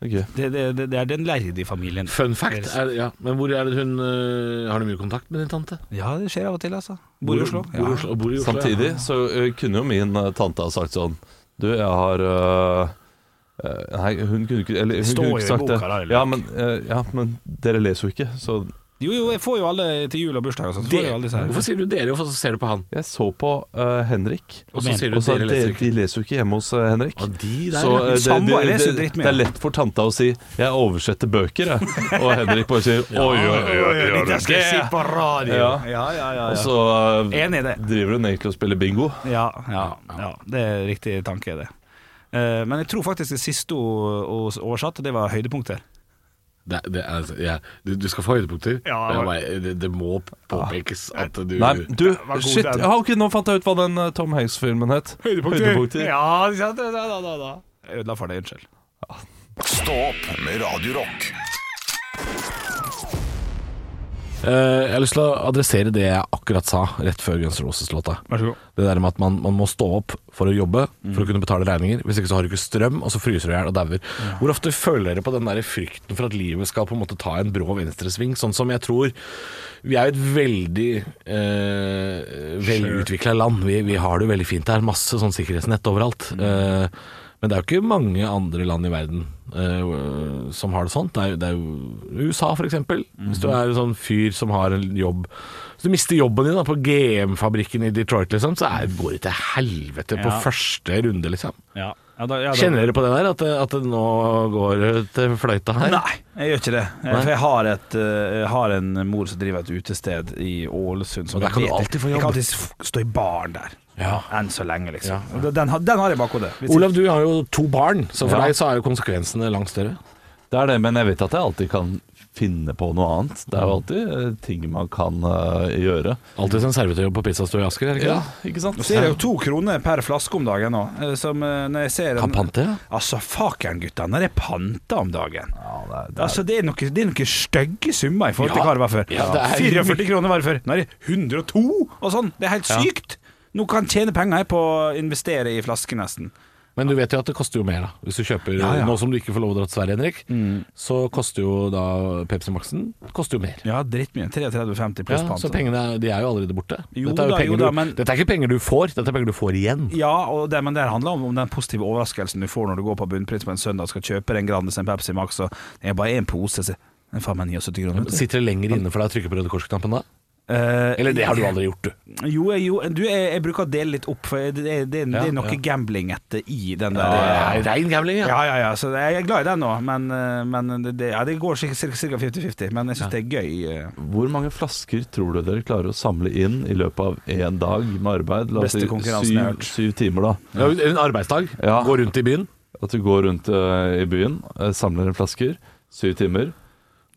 Speaker 5: Det er gøy.
Speaker 4: Det, det, det, det er den lærde i familien.
Speaker 3: Fun fact er, ja. Men hvor er det hun eh, Har du mye kontakt med din tante?
Speaker 4: Ja, det skjer av og til, altså. Bor i Oslo.
Speaker 3: Bor,
Speaker 4: Ja.
Speaker 3: i Oslo, bor i Oslo
Speaker 5: Samtidig
Speaker 3: ja.
Speaker 5: så ø, kunne jo min ø, tante ha sagt sånn Du, jeg har ø, ø, Nei, hun kunne ikke eller, hun
Speaker 4: står
Speaker 5: kunne
Speaker 4: jo i
Speaker 5: ikke sagt
Speaker 4: boka,
Speaker 5: det.
Speaker 4: da, eller?
Speaker 5: Ja men, ø, ja, men dere leser jo ikke, så
Speaker 4: Jo, jo, jeg får jo alle til jul og bursdag og sånn.
Speaker 3: Det,
Speaker 4: Får jo alle disse her.
Speaker 3: hvorfor sier du dere, og så ser du på han?
Speaker 5: jeg så på ø, Henrik.
Speaker 3: Og så
Speaker 4: Men-
Speaker 3: sier du
Speaker 5: Og sa
Speaker 3: dere
Speaker 5: de,
Speaker 3: leser
Speaker 5: de
Speaker 3: ikke.
Speaker 5: leser jo ikke hjemme hos ø, Henrik.
Speaker 3: Og de der,
Speaker 5: Så
Speaker 3: ja.
Speaker 5: ø, det, det,
Speaker 4: Samboer
Speaker 5: det,
Speaker 4: leser jo
Speaker 5: det,
Speaker 4: drittmye.
Speaker 5: er lett for tanta å si 'jeg oversetter bøker', jeg. Og Henrik bare sier 'oi, oi, oi'. oi, oi,
Speaker 4: Dette skal jeg si på radio!
Speaker 5: Ja.
Speaker 4: Ja, ja, ja.
Speaker 5: Og
Speaker 4: ja.
Speaker 5: så ø,
Speaker 4: Enig i det.
Speaker 5: driver hun egentlig og spiller bingo.
Speaker 4: Ja, ja, ja. Det er riktig tanke, det. Eh, Men jeg tror faktisk det siste hun hun oversatte, det var høydepunkter.
Speaker 3: det, det er, altså, ja. du, du skal få høydepunkter. men
Speaker 4: Ja,
Speaker 3: jeg
Speaker 4: men-
Speaker 3: bare- det, det må påpekes at du
Speaker 5: Nei, du,
Speaker 4: var god,
Speaker 5: shit.
Speaker 4: den.
Speaker 5: Ja, ok, nå fant jeg ut hva den ø, Tom Hanks-filmen het.
Speaker 4: Ja, ja, da, da, da, da. Jeg ødela for deg, unnskyld.
Speaker 1: Stå opp med Radio Rock.
Speaker 3: Eh, jeg har lyst til å adressere det jeg akkurat sa rett før Guns N' Roses-låta.
Speaker 4: Vær så god.
Speaker 3: Det der med at man, man må stå opp for å jobbe, for å kunne betale regninger. Hvis ikke så har du ikke strøm, og så fryser du i hjel og dauer. Hvor ofte føler dere på den der frykten for at livet skal på en måte ta en brå venstresving? Sånn som jeg tror Vi er jo et veldig eh, velutvikla land. Vi, vi har det jo veldig fint. Det er masse sånn sikkerhetsnett overalt. Eh, men det er jo ikke mange andre land i verden eh, som har det sånn. Det er, jo- det er jo USA, for eksempel. Hvis du er en sånn fyr som har en jobb Hvis du mister jobben din da, på GM-fabrikken i Detroit, liksom, så er, går det til helvete på
Speaker 4: Ja.
Speaker 3: første runde, liksom.
Speaker 4: Ja. Ja, da, ja, da-
Speaker 3: Kjenner dere på det der, at det, at det nå går til fløyta her?
Speaker 4: Nei, jeg gjør ikke det. Eh, For jeg har, et, eh, jeg har en mor som driver et utested i Ålesund. som
Speaker 3: Og der
Speaker 4: jeg
Speaker 3: kan du
Speaker 4: vet-
Speaker 3: alltid få
Speaker 4: Jeg
Speaker 3: jobb.
Speaker 4: kan alltid f- stå i baren der.
Speaker 3: Ja.
Speaker 4: Enn så lenge, liksom.
Speaker 3: Ja,
Speaker 4: Og Den, har- den har jeg i bakhodet. Hvis
Speaker 3: Olav, du har jo to barn, så for
Speaker 5: Ja.
Speaker 3: deg så er jo konsekvensene langt større.
Speaker 5: Det er det, men jeg vet at jeg alltid kan finne på noe annet.
Speaker 4: Mm.
Speaker 5: Det er jo alltid eh, ting man kan eh, gjøre.
Speaker 3: Alltid en servitørjobb på pizzastua i Asker, er det ikke det?
Speaker 5: ikke sant?
Speaker 4: Nå ser jeg jo to kroner per flaske om dagen nå. eh, Som eh, når jeg ser
Speaker 3: Kan pante, ja.
Speaker 4: Altså, fakeren, gutta. Når det er panta om dagen.
Speaker 5: Ja, det er, det er.
Speaker 4: Altså, det er noe- det er noen stygge summer i forhold til
Speaker 3: Ja.
Speaker 4: hva det var før.
Speaker 3: Ja, det er-
Speaker 4: 44 kroner var det før. Nå er det 102 og sånn. Det er helt
Speaker 3: Ja.
Speaker 4: sykt. Nå kan jeg tjene penger jeg, på å investere i flasker, nesten.
Speaker 3: Men du vet jo at det koster jo mer, da. Hvis du kjøper
Speaker 4: Ja, ja. Mm.
Speaker 3: Nå som du ikke får lov å dra til Sverige, Henrik, så koster jo da Pepsi Max-en koster jo mer.
Speaker 4: Ja, drittmye. 33,50
Speaker 3: Ja,
Speaker 4: pluss pant.
Speaker 3: så pengene er, de er jo allerede borte.
Speaker 4: Jo
Speaker 3: dette, er jo
Speaker 4: da, jo
Speaker 3: penger
Speaker 4: da,
Speaker 3: du,
Speaker 4: men-
Speaker 3: dette er ikke penger du får, dette er penger du får igjen.
Speaker 4: Ja, og det, men det handler om, om den positive overraskelsen du får når du går på Bunnpris på en søndag og skal kjøpe en Grandis, en Pepsi Max og det er bare én pose. Så, den er faen meg 79 kroner. vet du.
Speaker 3: Sitter det lenger inne for deg å trykke på Røde Kors-knappen da?
Speaker 4: Eh,
Speaker 3: Eller det har du aldri gjort, du.
Speaker 4: Jo, jeg- jo du, jeg, jeg bruker å dele litt opp, for det, det, det, det
Speaker 3: Ja,
Speaker 4: er noe
Speaker 3: ja.
Speaker 4: gambling etter i den der. eh,
Speaker 3: Det er rein gambling, ja.
Speaker 4: Ja, ja, ja. Så jeg er glad i den nå, men, eh, men det, det, ja, det går ca. 50-50. Men jeg syns det er gøy. eh,
Speaker 5: Hvor mange flasker tror du dere klarer å samle inn i løpet av én dag med arbeid? La oss
Speaker 4: Beste
Speaker 5: si
Speaker 4: konkurransen jeg har hørt.
Speaker 5: syv, syv timer, da.
Speaker 3: Ja, En arbeidsdag.
Speaker 5: Ja.
Speaker 3: Gå rundt i byen.
Speaker 5: At du går rundt eh, i byen, eh, samler inn flasker, syv timer.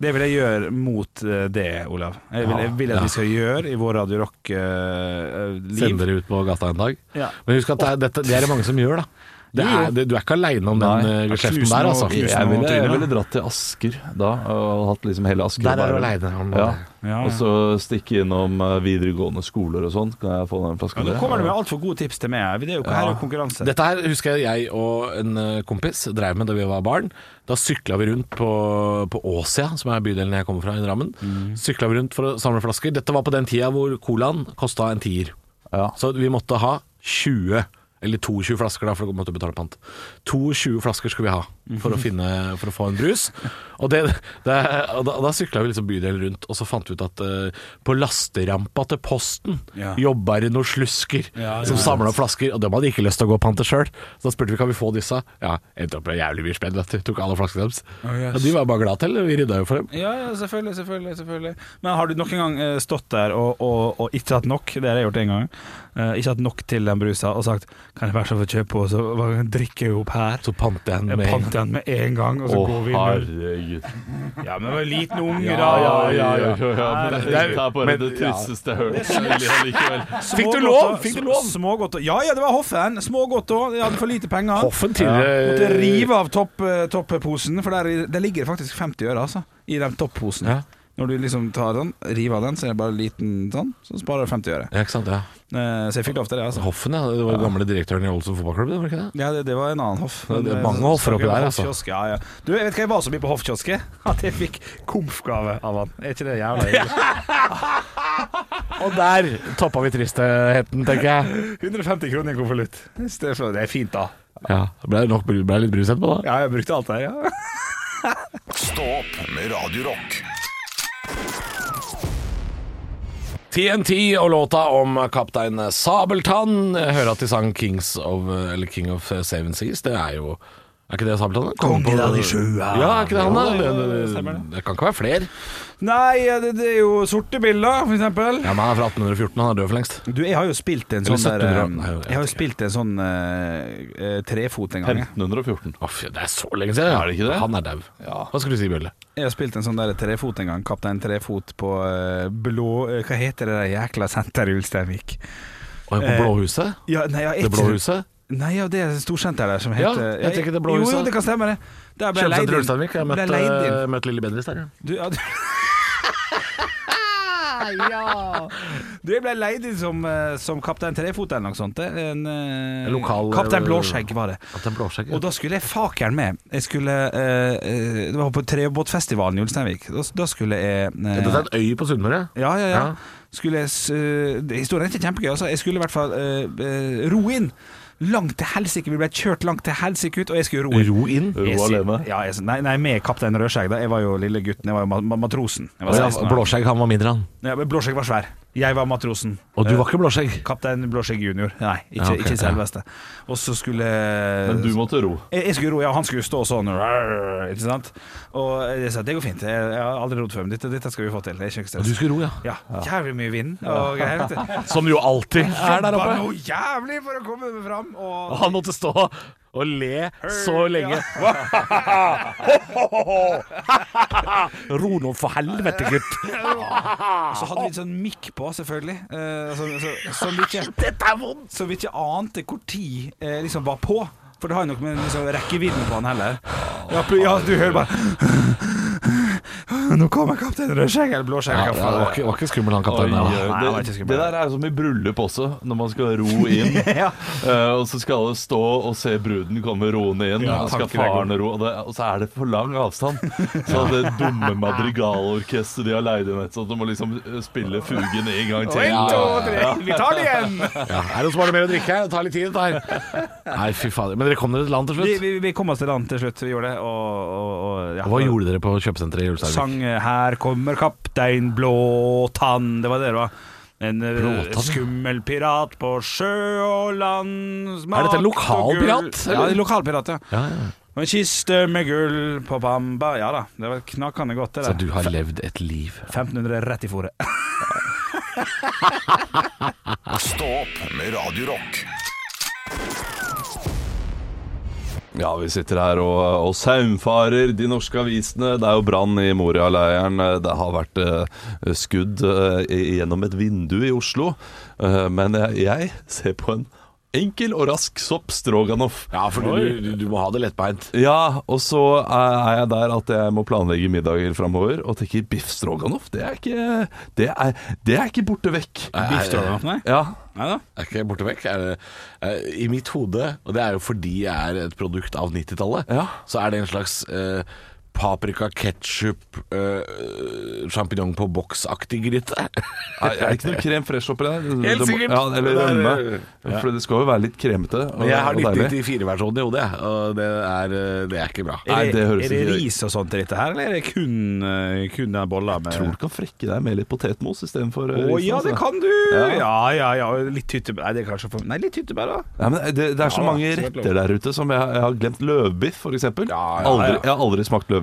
Speaker 4: Det vil jeg gjøre mot eh, det, Olav. Jeg vil, jeg vil at vi skal gjøre i vår Radio eh, Rock-liv.
Speaker 3: Sende dere ut på gata en dag.
Speaker 4: Ja.
Speaker 3: Men husk at det er, dette, det er det mange som gjør, da. Det
Speaker 4: Jo, jo.
Speaker 3: er, det, du er ikke aleine om den
Speaker 5: Nei.
Speaker 3: eh, geskjeften
Speaker 4: Tusen
Speaker 3: der, altså.
Speaker 4: og tusen
Speaker 5: Jeg ville, jeg
Speaker 4: Trine.
Speaker 5: ville dratt til Asker da, og hatt liksom hele Asker
Speaker 3: Der er du
Speaker 5: og Bærum.
Speaker 3: aleine.
Speaker 5: Ja.
Speaker 4: Ja,
Speaker 5: Og
Speaker 4: ja.
Speaker 5: så stikke innom eh, videregående skoler og sånn. Kan jeg få
Speaker 4: Ja,
Speaker 5: den flasken?
Speaker 4: Nå
Speaker 5: der?
Speaker 4: kommer du med altfor gode tips til meg. her. Det er jo, her er jo konkurranse.
Speaker 3: Dette her husker jeg jeg og en eh, kompis drev med da vi var barn. Da sykla vi rundt på, på Åsia, som er bydelen jeg kommer fra i Drammen.
Speaker 4: Mm.
Speaker 3: Sykla vi rundt for å samle flasker. Dette var på den tida hvor colaen kosta en tier.
Speaker 5: Ja.
Speaker 3: Så vi måtte ha 20, eller 22 flasker, da, for vi måtte betale pant. 22 flasker skulle vi ha for å, finne, for å få en brus. Og, det, det, og da, da sykla vi liksom bydelen rundt, og så fant vi ut at eh, på lasterampa til Posten
Speaker 4: Ja.
Speaker 3: jobba det noen slusker
Speaker 4: Ja, ja,
Speaker 3: som
Speaker 4: ja.
Speaker 3: samla flasker, og dem hadde ikke lyst til å gå og pante sjøl. Så da spurte vi kan vi få disse. Ja, endte opp med jævlig mye spenn, vet du. Tok alle flaskene deres.
Speaker 4: Å, yes.
Speaker 3: Og de var bare glad til, vi rydda jo for dem.
Speaker 4: Ja, ja selvfølgelig, selvfølgelig, selvfølgelig. Men har du noen gang eh, stått der og, og, og ikke hatt nok, det har jeg gjort en gang, eh, ikke hatt nok til den brusa og sagt 'kan jeg være så få kjøpe på', så hva- drikker jeg opp her.
Speaker 3: Så pante jeg en
Speaker 4: Jeg
Speaker 3: med
Speaker 4: pant den med en gang, og så
Speaker 5: Å,
Speaker 4: går vi inn.
Speaker 5: herregud.
Speaker 4: Ja, men jeg var en liten unge
Speaker 3: Ja,
Speaker 4: da.
Speaker 3: ja, ja, ja.
Speaker 5: men
Speaker 3: Det-
Speaker 5: det,
Speaker 3: det er-
Speaker 5: er bare
Speaker 3: men-
Speaker 5: det
Speaker 3: ja.
Speaker 5: tristeste jeg har hørt. men likevel.
Speaker 4: Fikk
Speaker 3: du lov? Fikk du lov?
Speaker 4: Smågodt og Ja ja, det var hoffen. Smågodt òg. Jeg hadde for lite penger.
Speaker 3: Hoffen eh, tidligere
Speaker 4: Måtte rive av topp, eh, topposen, for der, der ligger det faktisk 50 øre, altså. I den topposen.
Speaker 3: Ja.
Speaker 4: Når du liksom tar den, river av den, så er det bare en liten sånn, så sparer du 50 øre.
Speaker 3: Ja, ikke sant. Ja.
Speaker 4: Eh, Så jeg fikk lov til det, altså.
Speaker 3: Hoffen, ja. Det var den gamle direktøren i Ålesund fotballklubb, det var ikke det?
Speaker 4: Ja, det, det var en annen hoff.
Speaker 3: Det er
Speaker 4: Men, eh,
Speaker 3: mange
Speaker 4: så-
Speaker 3: hoffer oppi
Speaker 4: så-
Speaker 3: der, altså.
Speaker 4: hoffkiosk, Ja, ja. Du, jeg vet hva jeg var så mye på hoffkiosket? At jeg fikk komfgave av han. Er ikke det jævla hyggelig?
Speaker 3: Og der toppa vi tristheten, tenker jeg.
Speaker 4: 150 kroner i en konvolutt. Det er så- det er fint, da.
Speaker 3: Ja, Blei nok bru- ble litt brus etterpå, da.
Speaker 4: Ja, jeg brukte alt det her, ja.
Speaker 1: Stå opp med Radio Rock.
Speaker 3: TNT og låta om kaptein Sabeltann. Jeg hører at de sang Kings of, eller King of Seven Seas. Det er jo Er ikke det Sabeltann? da? Kongen på-
Speaker 4: av de sju, ja.
Speaker 3: Ja, er ikke det han, da?
Speaker 4: Jo,
Speaker 3: Det,
Speaker 4: det- det
Speaker 3: det,
Speaker 4: stemmer
Speaker 3: det kan ikke være flere.
Speaker 4: Nei, det, det er jo sorte biller, for eksempel.
Speaker 3: Ja, men han er fra 1814, han er død for lengst.
Speaker 4: Du, jeg har jo spilt en
Speaker 3: Eller
Speaker 4: sånn der,
Speaker 3: 1700, nei, jeg vet
Speaker 4: Jeg har jo
Speaker 3: ikke.
Speaker 4: spilt en sånn eh, eh, trefot en gang. jeg.
Speaker 5: 1514.
Speaker 3: Å, fy, det er så lenge siden. Er det ikke det? Han er dau. Hva skulle du si, Bjølle?
Speaker 4: Jeg har spilt en sånn der trefot en gang. Kaptein Trefot på eh, blå eh, Hva heter det der jækla senteret i Ulsteinvik?
Speaker 3: Å, På
Speaker 4: Eh,
Speaker 3: Blåhuset?
Speaker 4: Ja, nei, ja,
Speaker 3: Det
Speaker 4: ikke-
Speaker 3: blå huset?
Speaker 4: Nei, ja, det er et storsenter der som
Speaker 3: Ja,
Speaker 4: heter
Speaker 3: jeg tenker det er Blå
Speaker 4: Jo,
Speaker 3: huset.
Speaker 4: jo, det kan stemme det. Der ble jeg
Speaker 3: Kjøpesenter
Speaker 4: leid inn.
Speaker 3: Ulsteinvik. Jeg har
Speaker 4: Ble
Speaker 3: møtt,
Speaker 4: leid inn.
Speaker 3: eh, møtt Lille Bendriss der. ja.
Speaker 4: Du, ja, du... ja. Du, jeg ble leid inn som, eh, som kaptein Trefot eller noe sånt. det. En, eh,
Speaker 3: En lokal-
Speaker 4: kaptein Blåskjegg var det.
Speaker 3: Kaptein Blåskjegg. ja.
Speaker 4: Og da skulle jeg fakeren med. Jeg skulle eh, eh, Det var på Trebåtfestivalen i Ulsteinvik. Da, da skulle jeg eh,
Speaker 3: Dette er en øy på Sunnmøre.
Speaker 4: Ja, ja, ja.
Speaker 3: Ja.
Speaker 4: Skulle jeg s- øh, det- Historien er ikke kjempegøy, altså. Jeg skulle i hvert fall øh, øh, ro inn. Langt til helsike. Vi ble kjørt langt til helsike ut, og jeg skulle ro inn.
Speaker 3: Ro inn.
Speaker 5: Ro
Speaker 4: Jeg sier-
Speaker 5: alene.
Speaker 4: Ja, jeg, sier- nei, nei, med kaptein Rødskjegg. da. Jeg var jo lille gutten. Jeg var jo ma ma matrosen. Jeg var
Speaker 3: Å ja,
Speaker 4: 16 år.
Speaker 3: Blåskjegg, han var mindre, han.
Speaker 4: Ja, men Blåskjegg var svær. Jeg var matrosen. Eh,
Speaker 3: Og du var ikke blåskjegg?
Speaker 4: Kaptein Blåskjegg junior. Nei, ikke,
Speaker 3: Ja, ok,
Speaker 4: ikke
Speaker 3: ja.
Speaker 4: selveste. Og så skulle eh,
Speaker 5: Men du måtte ro.
Speaker 4: jeg, jeg skulle ro, ja, han skulle stå sånn rar, Ikke sant? Og jeg sa det går fint, jeg, jeg har aldri rodd før, men dette, dette skal vi få til. Det er ikke noe
Speaker 3: Du
Speaker 4: stress.
Speaker 3: skulle ro, ja.
Speaker 4: Ja, jævlig mye vind og greier. vet du.
Speaker 3: Som jo alltid er der oppe.
Speaker 4: Bare noe jævlig for å komme meg fram. Og
Speaker 3: Og han måtte stå og le så lenge. Ro nå, for helvete, gutt.
Speaker 4: Og så hadde vi en sånn mikk på, selvfølgelig. Eh, som, som, som, vi ikke,
Speaker 3: Dette er vondt.
Speaker 4: som vi ikke ante hvor tid eh, liksom var på. For det har jo noe med liksom, rekkevidden på han heller. Ja, pl- ja, du hører bare Nå kommer kaptein Rødskjegg eller Blåskjegg. hva
Speaker 3: Ja, det
Speaker 4: faen
Speaker 3: var
Speaker 4: det er.
Speaker 3: ikke, var ikke skummel, han
Speaker 5: Oi,
Speaker 3: kapteinen. her, da.
Speaker 5: eh,
Speaker 4: Nei, jeg var
Speaker 5: det,
Speaker 4: ikke skummel.
Speaker 5: det der er jo som i bryllup også, når man skal ro inn.
Speaker 4: Ja.
Speaker 5: eh, og så skal alle stå og se bruden komme roende inn,
Speaker 4: Ja,
Speaker 5: og skal
Speaker 4: tanken er god.
Speaker 5: faren ro, og, det, og så er det for lang avstand. Så det dumme madrigalorkesteret de har leid inn, et sånt, de må liksom spille fugen en gang til.
Speaker 4: En, to, tre, vi tar det igjen!
Speaker 3: Ja, er det noen som har det mer å drikke? Det tar litt tid, dette her. Nei, fy fader. Men dere kom dere til land til
Speaker 4: Vi,
Speaker 3: slutt?
Speaker 4: vi, vi kom oss til land til slutt, vi gjorde det. Og, og, og ja.
Speaker 3: Og Hva gjorde dere på kjøpesenteret i Ulsteinvik?
Speaker 4: Sang eh, 'Her kommer kaptein Blåtann'. Det var det det var. En eh,
Speaker 3: Blåtann?
Speaker 4: skummel pirat på sjø og land
Speaker 3: Er dette en lokal
Speaker 4: og gull.
Speaker 3: pirat, eller?
Speaker 4: Ja, en lokal pirat, ja.
Speaker 3: Ja, ja.
Speaker 4: Og en kiste med gull på Bamba. Ja da, det var knakende godt, det
Speaker 3: Så
Speaker 4: der.
Speaker 3: du har levd et liv.
Speaker 4: 1500 rett i fòret.
Speaker 1: Stå opp med Radio Rock.
Speaker 5: Ja, vi sitter her og, og saumfarer de norske avisene. Det er jo brann i Moria-leiren. Det har vært eh, skudd eh, i- gjennom et vindu i Oslo. Eh, men jeg, jeg ser på en enkel og rask sopp stroganoff.
Speaker 3: Ja, for du, du, du må ha det lettbeint.
Speaker 5: Ja, og så er er jeg der at jeg må planlegge middager framover og tenker biff stroganoff, det er ikke, det er, det er ikke borte vekk.
Speaker 3: Biff stroganoff,
Speaker 4: nei?
Speaker 5: Ja,
Speaker 4: Nei da.
Speaker 3: Er ikke borte vekk. Er det, er, I mitt hode, og det er jo fordi jeg er et produkt av 90-tallet,
Speaker 5: Ja.
Speaker 3: så er det en slags eh, paprika, ketsjup, uh, sjampinjong på boks-aktig gryte.
Speaker 5: er, er det ikke noe krem fresh oppi der?
Speaker 3: Helt
Speaker 5: Det må-
Speaker 3: sikkert.
Speaker 5: Ja, eller rømme.
Speaker 3: Ja.
Speaker 5: For det skal jo være litt kremete. og-
Speaker 3: Jeg har
Speaker 5: og deilig.
Speaker 3: 1994-versjonen i hodet, jeg, og det er, eh, det er ikke bra.
Speaker 5: Nei, det høres
Speaker 4: er det
Speaker 5: ikke-
Speaker 4: ris og sånt i dette her, eller er det kun, eh, kun den bolla med
Speaker 5: tror du kan frekke deg med litt potetmos istedenfor
Speaker 4: Å ja, det kan du!
Speaker 5: Ja.
Speaker 4: Ja, ja, ja. og Litt hyttebær Nei, det er kanskje for Nei, litt hyttebær, da.
Speaker 5: Ja, men eh, det, det er så
Speaker 4: Ja,
Speaker 5: mange
Speaker 4: så det er
Speaker 5: retter der ute som jeg, jeg har glemt. Løvbiff, f.eks.
Speaker 3: Ja, ja,
Speaker 5: aldri,
Speaker 3: ja.
Speaker 5: jeg har aldri smakt løvbiff.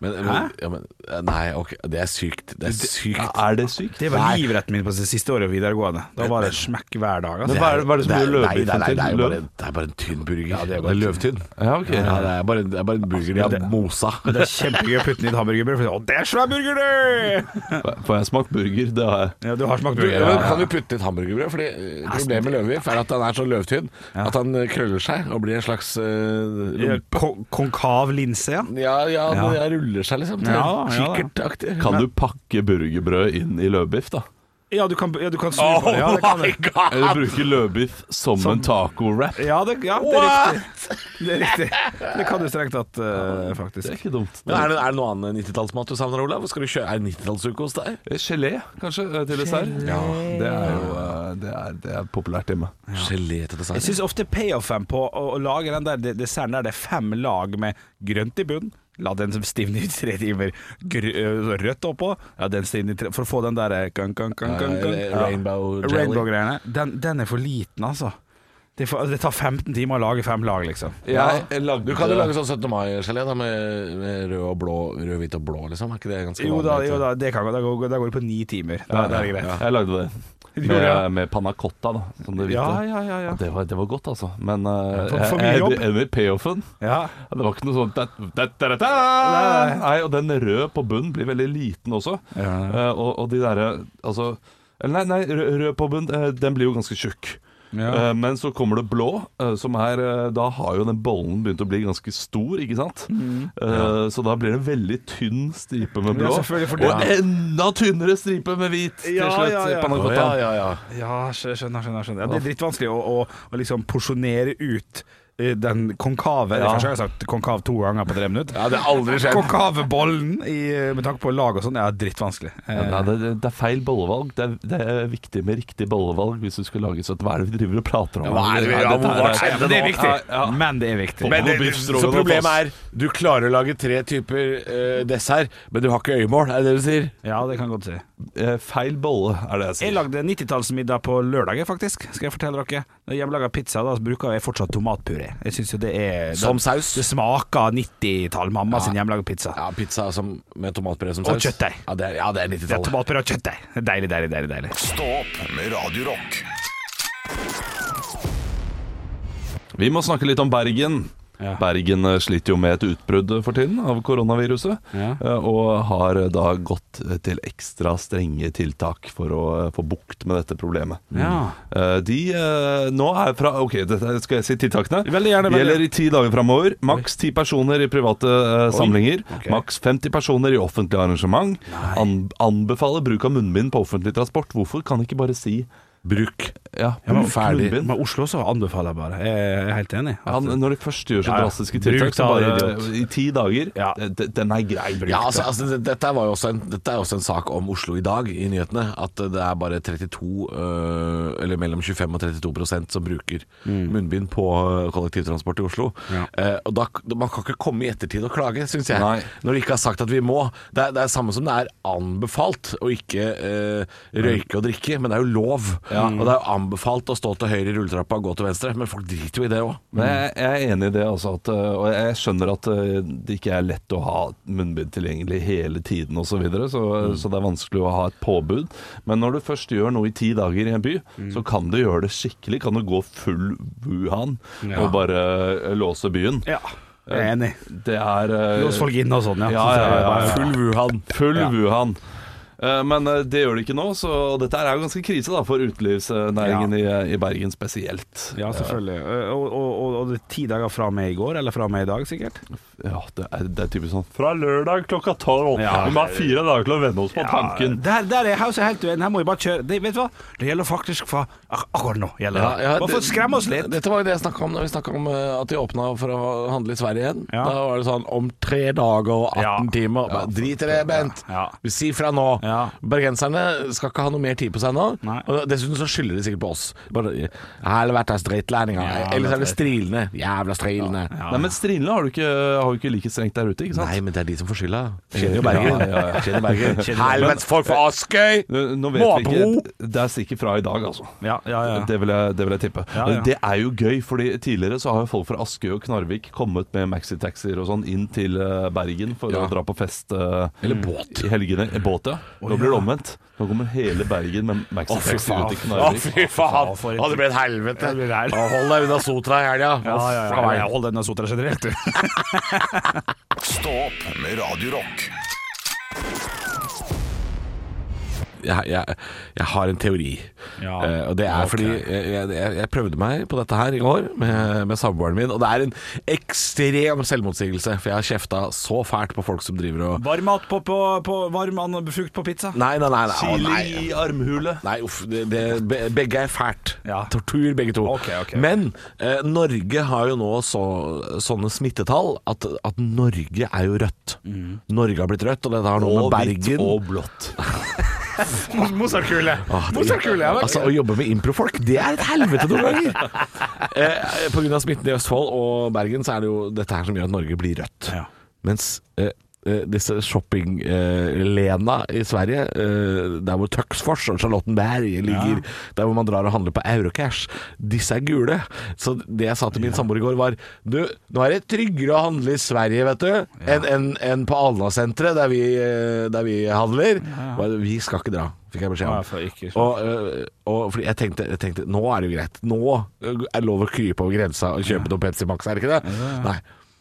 Speaker 3: Men, men, ja, men eh, Nei, ok, det er sykt. Det er sykt.
Speaker 5: Er det sykt?
Speaker 4: Det var
Speaker 3: Nei.
Speaker 4: livretten min på det siste året videregående. Da var det smekk hver dag.
Speaker 5: Men
Speaker 4: Altså.
Speaker 5: hva er det, hva er det som
Speaker 3: Det
Speaker 5: gjør
Speaker 3: er- nei,
Speaker 5: løvbiffen
Speaker 3: nei, nei,
Speaker 5: til
Speaker 3: det er jo bare,
Speaker 5: løv?
Speaker 3: en- det er bare en tynn burger. Ja, det er,
Speaker 5: bare en
Speaker 3: løvtynn.
Speaker 5: Ja, ok.
Speaker 3: Ja, det, er bare, det er bare en burger de har mosa.
Speaker 4: Det er kjempegøy å putte den i et hamburgerbrød. for Å, det er svær burger, du!
Speaker 5: For jeg har smakt burger, det har jeg.
Speaker 4: Ja, du har smakt
Speaker 3: Du,
Speaker 4: burger.
Speaker 3: men
Speaker 4: Ja.
Speaker 3: Kan du putte litt hamburgerbrød? Fordi eh, Problemet med løvbiff er at han er så løvtynn at han eh, krøller seg og blir en slags eh,
Speaker 4: Ja,
Speaker 3: rump-
Speaker 4: ko- Konkav linse, ja.
Speaker 3: Ja, ja, den ja. ruller seg liksom til
Speaker 4: Ja, ja, ja.
Speaker 3: kikkertaktig.
Speaker 5: Kan du pakke burgerbrød inn i løvbiff, da?
Speaker 4: Ja, du kan, ja, du kan snu på det. Ja, det kan du.
Speaker 3: oh god!
Speaker 5: Eller bruke løvbiff som, en taco-wrap?
Speaker 4: Ja, det, ja, det er riktig. Det er riktig. Det kan du strengt tatt, eh,
Speaker 5: Det er
Speaker 4: faktisk.
Speaker 5: ikke dumt.
Speaker 3: Men er det, er det noe annen 90-tallsmat du savner, Olav? Skal du kjøre, er det 90-tallsuke hos deg?
Speaker 5: Gelé, kanskje, eh, til dessert? Ja, det er jo eh, det er, det er populært hjemme.
Speaker 3: Gelé til
Speaker 4: Jeg
Speaker 3: dessert.
Speaker 4: syns ofte payoffen på å, å lage den der de- desserten der det er fem lag med grønt i bunn La den som stivne i tre timer. Gr øh, rødt oppå. Ja, den stivner i tre For å få den der eh, gang, gang, gang, gang, gang.
Speaker 3: Eh, Rainbow jelly.
Speaker 4: Rainbow-greiene. Den, den er for liten, altså. Det, er for, det tar 15 timer å lage fem lag, liksom.
Speaker 5: Jeg, jeg lagde
Speaker 3: Du kan jo lage sånn 17. mai-gelé da, med, med rød og blå, rød, hvit og blå, liksom. Er ikke det ganske
Speaker 4: Jo da,
Speaker 3: vanlig?
Speaker 4: jo da, det kan gå. Da går, da går det på ni timer. Da, da er det greit.
Speaker 5: Jeg lagde det.
Speaker 4: gjorde det, ja.
Speaker 5: Med, med panna cotta, da, som det hvite.
Speaker 4: Ja, ja, ja, ja.
Speaker 5: Det, var, det var godt, altså. Men eh,
Speaker 4: for-
Speaker 5: jeg-
Speaker 4: for mye
Speaker 5: jeg
Speaker 4: jobb.
Speaker 5: er enig i payoffen.
Speaker 4: Ja.
Speaker 5: Ja, Det var ikke noe sånn da, da, da, da, da.
Speaker 4: Nei, nei.
Speaker 5: Nei, Og den røde på bunnen blir veldig liten også.
Speaker 4: Ja.
Speaker 5: Eh, og, og de derre Altså Eller nei, nei rød, rød på bunnen, eh, den blir jo ganske tjukk. Eh, Men så kommer det blå, eh, som er eh, Da har jo den bollen begynt å bli ganske stor, ikke sant? Eh, Så da blir det en veldig tynn stripe med
Speaker 4: Mm. Ja,
Speaker 5: blå.
Speaker 4: selvfølgelig, for
Speaker 5: og
Speaker 4: det-
Speaker 5: enda tynnere stripe med hvit til
Speaker 4: Ja,
Speaker 5: slutt.
Speaker 4: ja, ja.
Speaker 5: panna
Speaker 3: Å,
Speaker 5: cotta.
Speaker 3: ja, ja, ja.
Speaker 4: Ja, skjø- skjønner, skjønner. skjønner. Ja, det er drittvanskelig å, å, å liksom porsjonere ut i den konkave
Speaker 5: Ja.
Speaker 4: Kanskje jeg har sagt konkav to ganger på tre minutter.
Speaker 3: Ja, det har aldri skjedd.
Speaker 4: Konkave bollen i, med tanke på lag og sånn er dritvanskelig.
Speaker 5: Ja,
Speaker 4: Eh,
Speaker 5: nei, det, det er feil bollevalg. Det er, det er viktig med riktig bollevalg hvis du skal lage sånn Hva er det vi driver og prater om?
Speaker 3: Ja, hva er det vi-
Speaker 5: Nei,
Speaker 3: ja,
Speaker 5: dette
Speaker 3: hvor-
Speaker 5: er-
Speaker 3: hva skjedde
Speaker 4: men det er
Speaker 3: nå?
Speaker 4: viktig.
Speaker 5: Ja, ja.
Speaker 4: Men det er viktig.
Speaker 5: Men-
Speaker 4: Men,
Speaker 5: Og
Speaker 3: det,
Speaker 5: biff
Speaker 3: så
Speaker 5: stroganoff,
Speaker 3: problemet er
Speaker 5: ass.
Speaker 3: du klarer å lage tre typer eh, dessert, men du har ikke øyemål, er det det du sier?
Speaker 4: ja, det kan jeg godt si.
Speaker 5: Eh, Feil bolle er det
Speaker 4: Jeg
Speaker 5: jeg sier.
Speaker 4: lagde 90-tallsmiddag på lørdag, faktisk. Skal jeg fortelle dere. Hjemmelaga pizza, da bruker jeg fortsatt tomatpuré. Jeg syns jo det er
Speaker 3: Som
Speaker 4: det,
Speaker 3: saus?
Speaker 4: det smaker 90-tall, mamma sin hjemmelaga pizza.
Speaker 3: Ja, pizza som, med tomatpuré som
Speaker 4: Og
Speaker 3: saus.
Speaker 4: kjøttdeig.
Speaker 3: Ja, det er, ja, det er
Speaker 4: Det er
Speaker 3: 90-tallet.
Speaker 4: tomatpuré og kjøttdeig. Deilig, deilig, deilig. deilig.
Speaker 1: Stå opp med Radio Rock.
Speaker 5: Vi må snakke litt om Bergen.
Speaker 4: Ja.
Speaker 5: Bergen eh, sliter jo med et utbrudd for tiden av koronaviruset,
Speaker 4: Ja.
Speaker 5: eh, og har da gått til ekstra strenge tiltak for å eh, få bukt med dette problemet.
Speaker 4: Mm. Ja.
Speaker 5: Eh, De eh, nå er fra Ok, dette skal jeg si tiltakene.
Speaker 4: Veldig gjerne, veldig
Speaker 5: Det Gjelder i ti dager framover. Maks ti personer i private eh, samlinger. Maks 50 personer i offentlig arrangement. An anbefaler bruk av munnbind på offentlig transport. Hvorfor kan ikke bare si
Speaker 3: Bruk.
Speaker 5: ja,
Speaker 4: Ja, men,
Speaker 5: bruk
Speaker 4: ferdig.
Speaker 5: munnbind?
Speaker 4: men Oslo så anbefaler jeg bare. Jeg er helt enig.
Speaker 5: Ja, når de først gjør så
Speaker 4: Ja, ja.
Speaker 5: drastiske
Speaker 4: Bruk
Speaker 5: tiltak, så
Speaker 4: da,
Speaker 5: bare
Speaker 4: idiot.
Speaker 5: i ti dager
Speaker 4: Ja.
Speaker 5: d- d- Den er grei bruk.
Speaker 3: Ja, altså, altså, det- dette, var jo også en, dette er jo også en sak om Oslo i dag i nyhetene. At det er bare 32, øh, eller mellom 25 og 32 prosent som bruker munnbind på øh, kollektivtransport i Oslo.
Speaker 4: Ja.
Speaker 3: Eh, og da, Man kan ikke komme i ettertid og klage, syns jeg.
Speaker 5: Nei.
Speaker 3: Når de ikke har sagt at vi må. Det er det er samme som det er anbefalt å ikke øh, røyke og drikke, men det er jo lov. Og det er jo anbefalt å stå til høyre i rulletrappa og gå til venstre, men folk driter jo i det òg.
Speaker 5: Men
Speaker 4: mm.
Speaker 5: jeg, jeg er enig i det, altså. At, eh, og jeg skjønner at eh, det ikke er lett å ha munnbind tilgjengelig hele tiden osv., så, videre, så, øh,
Speaker 4: Mm.
Speaker 5: så det er vanskelig å ha et påbud. Men når du først gjør noe i ti dager i en by,
Speaker 4: Mm.
Speaker 5: så kan du gjøre det skikkelig. Kan du gå full Wuhan
Speaker 4: Ja.
Speaker 5: og bare eh, låse byen.
Speaker 4: Ja, jeg er enig.
Speaker 5: Det er eh,
Speaker 4: Lås folk inne og sånn, ja.
Speaker 5: Ja, ja, ja, ja.
Speaker 3: Full Wuhan.
Speaker 5: Full
Speaker 4: Ja.
Speaker 5: Wuhan. Eh, Men eh, det gjør det ikke nå, så dette her er jo ganske krise da, for utelivsnæringen i, i Bergen spesielt.
Speaker 4: Ja, selvfølgelig. Eh, Og, og, og, og det er ti dager fra meg i går, eller fra meg i dag, sikkert.
Speaker 5: Ja, det er, det er typisk sånn Fra lørdag klokka tolv.
Speaker 4: Ja.
Speaker 5: Vi må ha fire dager til å venne oss på tanken.
Speaker 4: Der, der er House helt uenig. Her må vi bare kjøre. Det, vet du hva? Det gjelder faktisk fra ak akkurat nå. gjelder
Speaker 3: Ja,
Speaker 4: det.
Speaker 3: ja,
Speaker 4: bare for å
Speaker 3: det-
Speaker 4: skremme oss litt.
Speaker 3: Dette var jo det jeg snakka om da vi snakka om eh, at de åpna for å handle i Sverige igjen.
Speaker 4: Ja.
Speaker 3: Da var det sånn om tre dager og 18
Speaker 4: Ja.
Speaker 3: timer. Bare, Drit i det, Bent.
Speaker 4: Ja.
Speaker 3: Vi sier fra nå.
Speaker 4: Ja.
Speaker 3: Bergenserne skal ikke ha noe mer tid på seg nå.
Speaker 4: Nei.
Speaker 3: Og dessuten så skylder de sikkert på oss. Bare, Jeg har vært der strittlærninger.
Speaker 4: Ja,
Speaker 3: Ellers er
Speaker 4: det
Speaker 3: det strilende. Jævla strilende.
Speaker 4: Ja.
Speaker 5: Nei, men Strindene har du ikke, har jo ikke like strengt der ute, ikke sant?
Speaker 3: Nei, men det er de som får skylda. Kjenner jo Bergen.
Speaker 5: Ja, ja, ja.
Speaker 3: Kjenner Bergen. Helvetes folk fra Askøy!
Speaker 5: Nå nå vet vi
Speaker 3: Måbro!
Speaker 5: ikke Det er sikkert fra i dag, altså.
Speaker 4: Ja, ja, ja.
Speaker 5: Det, vil jeg, det vil jeg tippe.
Speaker 4: Ja, ja.
Speaker 5: Det er jo gøy, fordi tidligere så har jo folk fra Askøy og Knarvik kommet med maxitaxier og sånn inn til eh, Bergen for
Speaker 3: Ja.
Speaker 5: å dra på fest eh,
Speaker 3: Eller båt.
Speaker 5: i helgene. Eh, Båt, ja. Nå blir det omvendt. Nå kommer hele Bergen med
Speaker 3: Å, fy
Speaker 5: maxitaxi
Speaker 3: faen.
Speaker 5: ut i
Speaker 3: Å,
Speaker 5: Knarvik.
Speaker 3: fy faen.
Speaker 4: Å, for et-
Speaker 3: Å, det ble et helvete.
Speaker 4: Det blir det her.
Speaker 3: Å, Hold deg unna Sotra i helga.
Speaker 4: Ja,
Speaker 3: Å,
Speaker 4: ja,
Speaker 3: faen.
Speaker 4: ja. Jeg holder denne sotera generelt, du.
Speaker 1: Stå opp med Radio Rock.
Speaker 3: jeg, jeg, jeg har en teori.
Speaker 4: Ja.
Speaker 3: Eh, og det er fordi jeg, jeg, jeg prøvde meg på dette her i går med, med samboeren min, og det er en ekstrem selvmotsigelse. For jeg har kjefta så fælt på folk som driver og
Speaker 4: Varm mat på, på, på varm and- frukt på pizza.
Speaker 3: Nei, nei, nei. nei, å,
Speaker 5: Chili
Speaker 3: nei.
Speaker 5: i armhule.
Speaker 3: Nei, uff, det, det, be- begge er fælt.
Speaker 4: Ja.
Speaker 3: Tortur, begge to.
Speaker 4: Ok, ok.
Speaker 3: Men eh, Norge har jo nå så, sånne smittetall at, at Norge er jo rødt.
Speaker 4: Mm.
Speaker 3: Norge har blitt rødt, og dette har noe med
Speaker 5: Og hvitt
Speaker 3: Bergen
Speaker 5: og blått.
Speaker 4: Mozartkule. Mozartkule, ja.
Speaker 3: Altså, å jobbe med improfolk, det er et helvete noen ganger! Eh, på grunn av smitten i Østfold og Bergen, så er det jo dette her som gjør at Norge blir rødt.
Speaker 4: Ja.
Speaker 3: Mens eh, eh, disse shoppinglena i Sverige, eh, der hvor Tuxfors og Charlottenberg ligger, der hvor man drar og handler på Eurocash, disse er gule. Så det jeg sa til min samboer i går, var Du, nå er det tryggere å handle i Sverige, vet du, enn enn- enn på Alna-senteret, der, vi, eh, der vi handler. Bare, Vi skal ikke dra, fikk jeg beskjed om.
Speaker 4: Ja, for ikke-
Speaker 3: Og, øh, og fordi jeg tenkte, jeg tenkte Nå er det jo greit. Nå øh, er det lov å krype over grensa og kjøpe noe Pepsi Max, er det ikke det? Nei.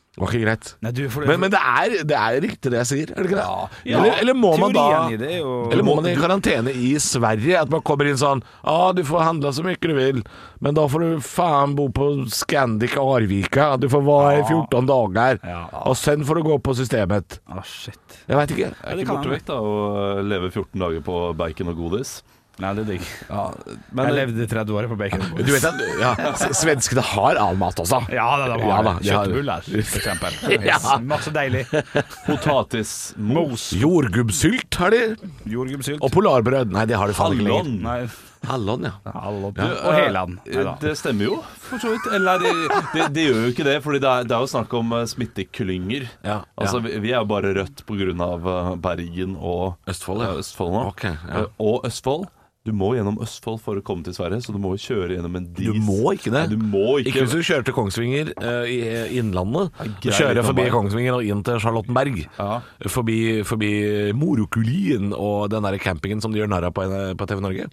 Speaker 3: Det var ikke greit.
Speaker 4: Nei, du, for-
Speaker 3: Men, men det, er, det er riktig det jeg sier, er det ikke det?
Speaker 4: Ja.
Speaker 3: Eller, eller må man da
Speaker 4: Teorien i det er jo-
Speaker 3: Eller må man i karantene i Sverige? At man kommer inn sånn Ja, ah, du får handle så mye du vil, men da får du faen bo på Scandic Arvika. Du får være i 14 dager,
Speaker 4: Ja.
Speaker 3: og sen får du gå på systemet.
Speaker 4: Ah, shit.
Speaker 3: Jeg veit ikke.
Speaker 5: Er
Speaker 4: det
Speaker 5: ikke
Speaker 4: kan
Speaker 5: borte
Speaker 4: hende.
Speaker 5: vekk da å leve 14 dager på bacon og godis?
Speaker 4: Nei, det er digg.
Speaker 3: Ja,
Speaker 4: Jeg
Speaker 3: men
Speaker 4: levde i 30 år på bacon.
Speaker 3: du vet at ja, s- svenskene har annen mat også.
Speaker 4: Ja da, de
Speaker 3: Ja
Speaker 4: har
Speaker 3: da,
Speaker 4: det.
Speaker 3: de har-
Speaker 4: kjøttbuller, for eksempel.
Speaker 3: Ja.
Speaker 4: Yes, Masse deilig.
Speaker 5: Potetmos.
Speaker 3: Jordgubbsylt har de,
Speaker 4: Jordgubbsylt.
Speaker 3: og polarbrød. Nei, det har de faen ikke lenger.
Speaker 5: Hallon.
Speaker 4: Nei,
Speaker 3: Hallon, ja.
Speaker 4: hallå.
Speaker 5: Du,
Speaker 4: Og
Speaker 5: eh,
Speaker 4: Heland. Neida.
Speaker 5: Det stemmer jo, for så vidt. Eller det, det, det gjør jo ikke det, Fordi det er, det er jo snakk om eh, smitteklynger.
Speaker 3: Ja.
Speaker 5: Altså, vi, vi er jo bare rødt pga. eh, Bergen og
Speaker 3: Østfold, ja.
Speaker 5: eh, Østfold nå.
Speaker 3: Ok, ja.
Speaker 5: Eh, Og Østfold. Du må gjennom Østfold for å komme til Sverige, så du må jo kjøre gjennom en dis.
Speaker 3: Du må ikke det.
Speaker 5: Nei, du må
Speaker 3: Ikke
Speaker 5: ikke.
Speaker 3: hvis du kjører til Kongsvinger eh, i i Innlandet. Du
Speaker 5: grei
Speaker 3: kjører
Speaker 5: litt om
Speaker 3: forbi
Speaker 5: meg.
Speaker 3: Kongsvinger og inn til Charlottenberg.
Speaker 5: Ja.
Speaker 3: Forbi, forbi Morokulien og den der campingen som de gjør narr av på, eh, på TV Norge.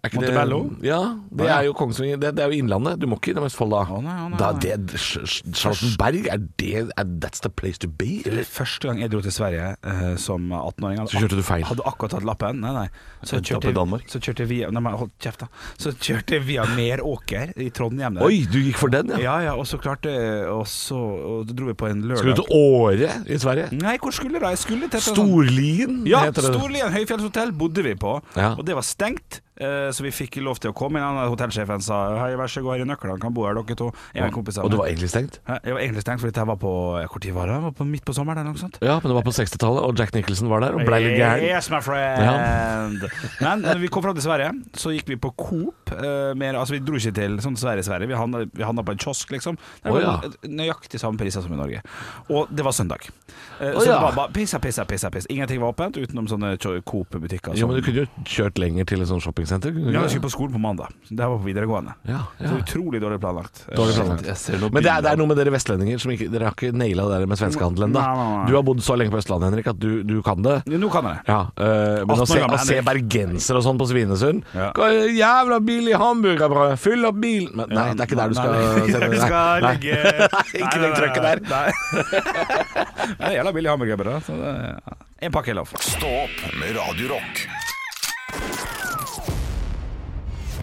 Speaker 3: Er ikke det-
Speaker 4: Montebello?
Speaker 3: Ja, det er jo Kongsvinger. Det, det er jo Innlandet. Du må ikke innom Østfold da.
Speaker 4: Å nei, å nei,
Speaker 3: da
Speaker 4: å nei.
Speaker 3: det, Sch- Sch- Charlottenberg, er det er, That's the place to be? Eller?
Speaker 4: Første gang jeg dro til Sverige eh, som 18-åring hadde
Speaker 3: Så kjørte du feil.
Speaker 4: ak- Hadde akkurat tatt lappen. Nei, nei. Så
Speaker 5: Endte opp i Danmark.
Speaker 4: så kjørte jeg via Nei, men hold kjeft, da. Så kjørte jeg via Meråker i Trondheim. der.
Speaker 3: Oi, du gikk for den, ja.
Speaker 4: Ja, ja, og så klarte eh, Og så og da dro vi på en
Speaker 3: Skulle
Speaker 4: lørdag
Speaker 3: du til Åre i Sverige?
Speaker 4: Nei, hvor skulle jeg da? Jeg skulle til et sånt-
Speaker 3: Storlien
Speaker 4: Mm. Ja,
Speaker 3: heter det.
Speaker 4: Storlien høyfjellshotell bodde vi på,
Speaker 3: Ja.
Speaker 4: og det var stengt. eh, Så vi fikk lov til å komme inn. Han- Hotellsjefen sa Hei, vær så god, her er nøklene, kan bo her dere to. Jeg og en kompis av
Speaker 3: Og det
Speaker 4: meg.
Speaker 3: var egentlig stengt?
Speaker 4: Hæ? Jeg var egentlig stengt, fordi dette var på eh, Hvor tid var det? det? var på Midt på sommeren eller noe sånt?
Speaker 3: Ja, men det var på 60-tallet, og Jack Nicholson var der og blei litt gæren.
Speaker 4: Yes, my friend. Men når vi kom fram til Sverige, så gikk vi på Coop. eh, mer, altså Vi dro ikke til sånn Sverige-Sverige. Vi handla, vi handla på en kiosk, liksom. Det var
Speaker 3: Å, ja.
Speaker 4: Nøyaktig samme priser som i Norge. Og det var søndag. Eh,
Speaker 3: Å,
Speaker 4: så
Speaker 3: ja.
Speaker 4: det var bare pissa, pissa, pissa. pissa. Ingenting var åpent utenom sånne kjo- Coop-butikker.
Speaker 3: Jo,
Speaker 4: som-
Speaker 3: men du kunne jo kjørt lenger til et sånt shoppingsenter. kunne du
Speaker 4: sånn. Ja,
Speaker 3: ikke
Speaker 4: jeg
Speaker 3: det?
Speaker 4: skulle på skolen på mandag. Så Det her var på videregående.
Speaker 3: Ja, ja.
Speaker 4: Så utrolig dårlig planlagt. Eh,
Speaker 3: Dårlig planlagt.
Speaker 5: Jeg ser noen
Speaker 3: Men det er, det
Speaker 5: bilder
Speaker 3: er noe med dere vestlendinger som ikke, Dere har ikke naila det der med svenskehandelen, da.
Speaker 4: Nei, nei, nei.
Speaker 3: Du har bodd så lenge på Østlandet, Henrik, at du, du kan det.
Speaker 4: Nå kan jeg det.
Speaker 3: Ja, øh, men
Speaker 4: 18
Speaker 3: å se,
Speaker 4: år gamle
Speaker 3: å se
Speaker 4: Henrik.
Speaker 3: bergensere og sånn på Svinesund
Speaker 4: Ja.
Speaker 3: Hva er Jævla billig hamburgerbrød! Fyll opp bilen! Men, nei,
Speaker 4: Ja,
Speaker 3: det er ikke der du skal
Speaker 4: nei, nei,
Speaker 3: sette
Speaker 4: vi
Speaker 3: deg.
Speaker 4: skal
Speaker 3: Nei.
Speaker 4: legge
Speaker 3: Ikke legg trøkket der.
Speaker 4: Nei. Det er jævla billig hamburgerbrød. da, så det- En pakke er lov.
Speaker 1: Stå opp med Radio Rock.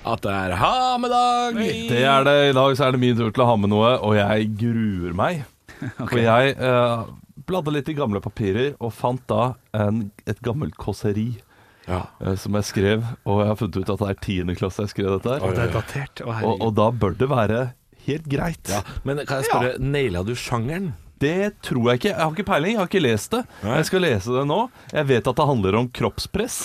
Speaker 3: At det er hamedag!
Speaker 5: Det er det. I dag så er det min tur til å ha med noe, og jeg gruer meg. For jeg eh, bladde litt i gamle papirer og fant da en, et gammelt kåseri
Speaker 3: Ja.
Speaker 5: eh, som jeg skrev. Og jeg har funnet ut at det er tiende klasse jeg skrev dette her.
Speaker 4: Det er datert. Å,
Speaker 5: Og, og da bør det være helt greit.
Speaker 3: Ja. Men kan jeg spørre, naila du sjangeren?
Speaker 5: Det tror jeg ikke. Jeg har ikke peiling, jeg har ikke lest det. Jeg skal lese det nå. Jeg vet at det handler om kroppspress.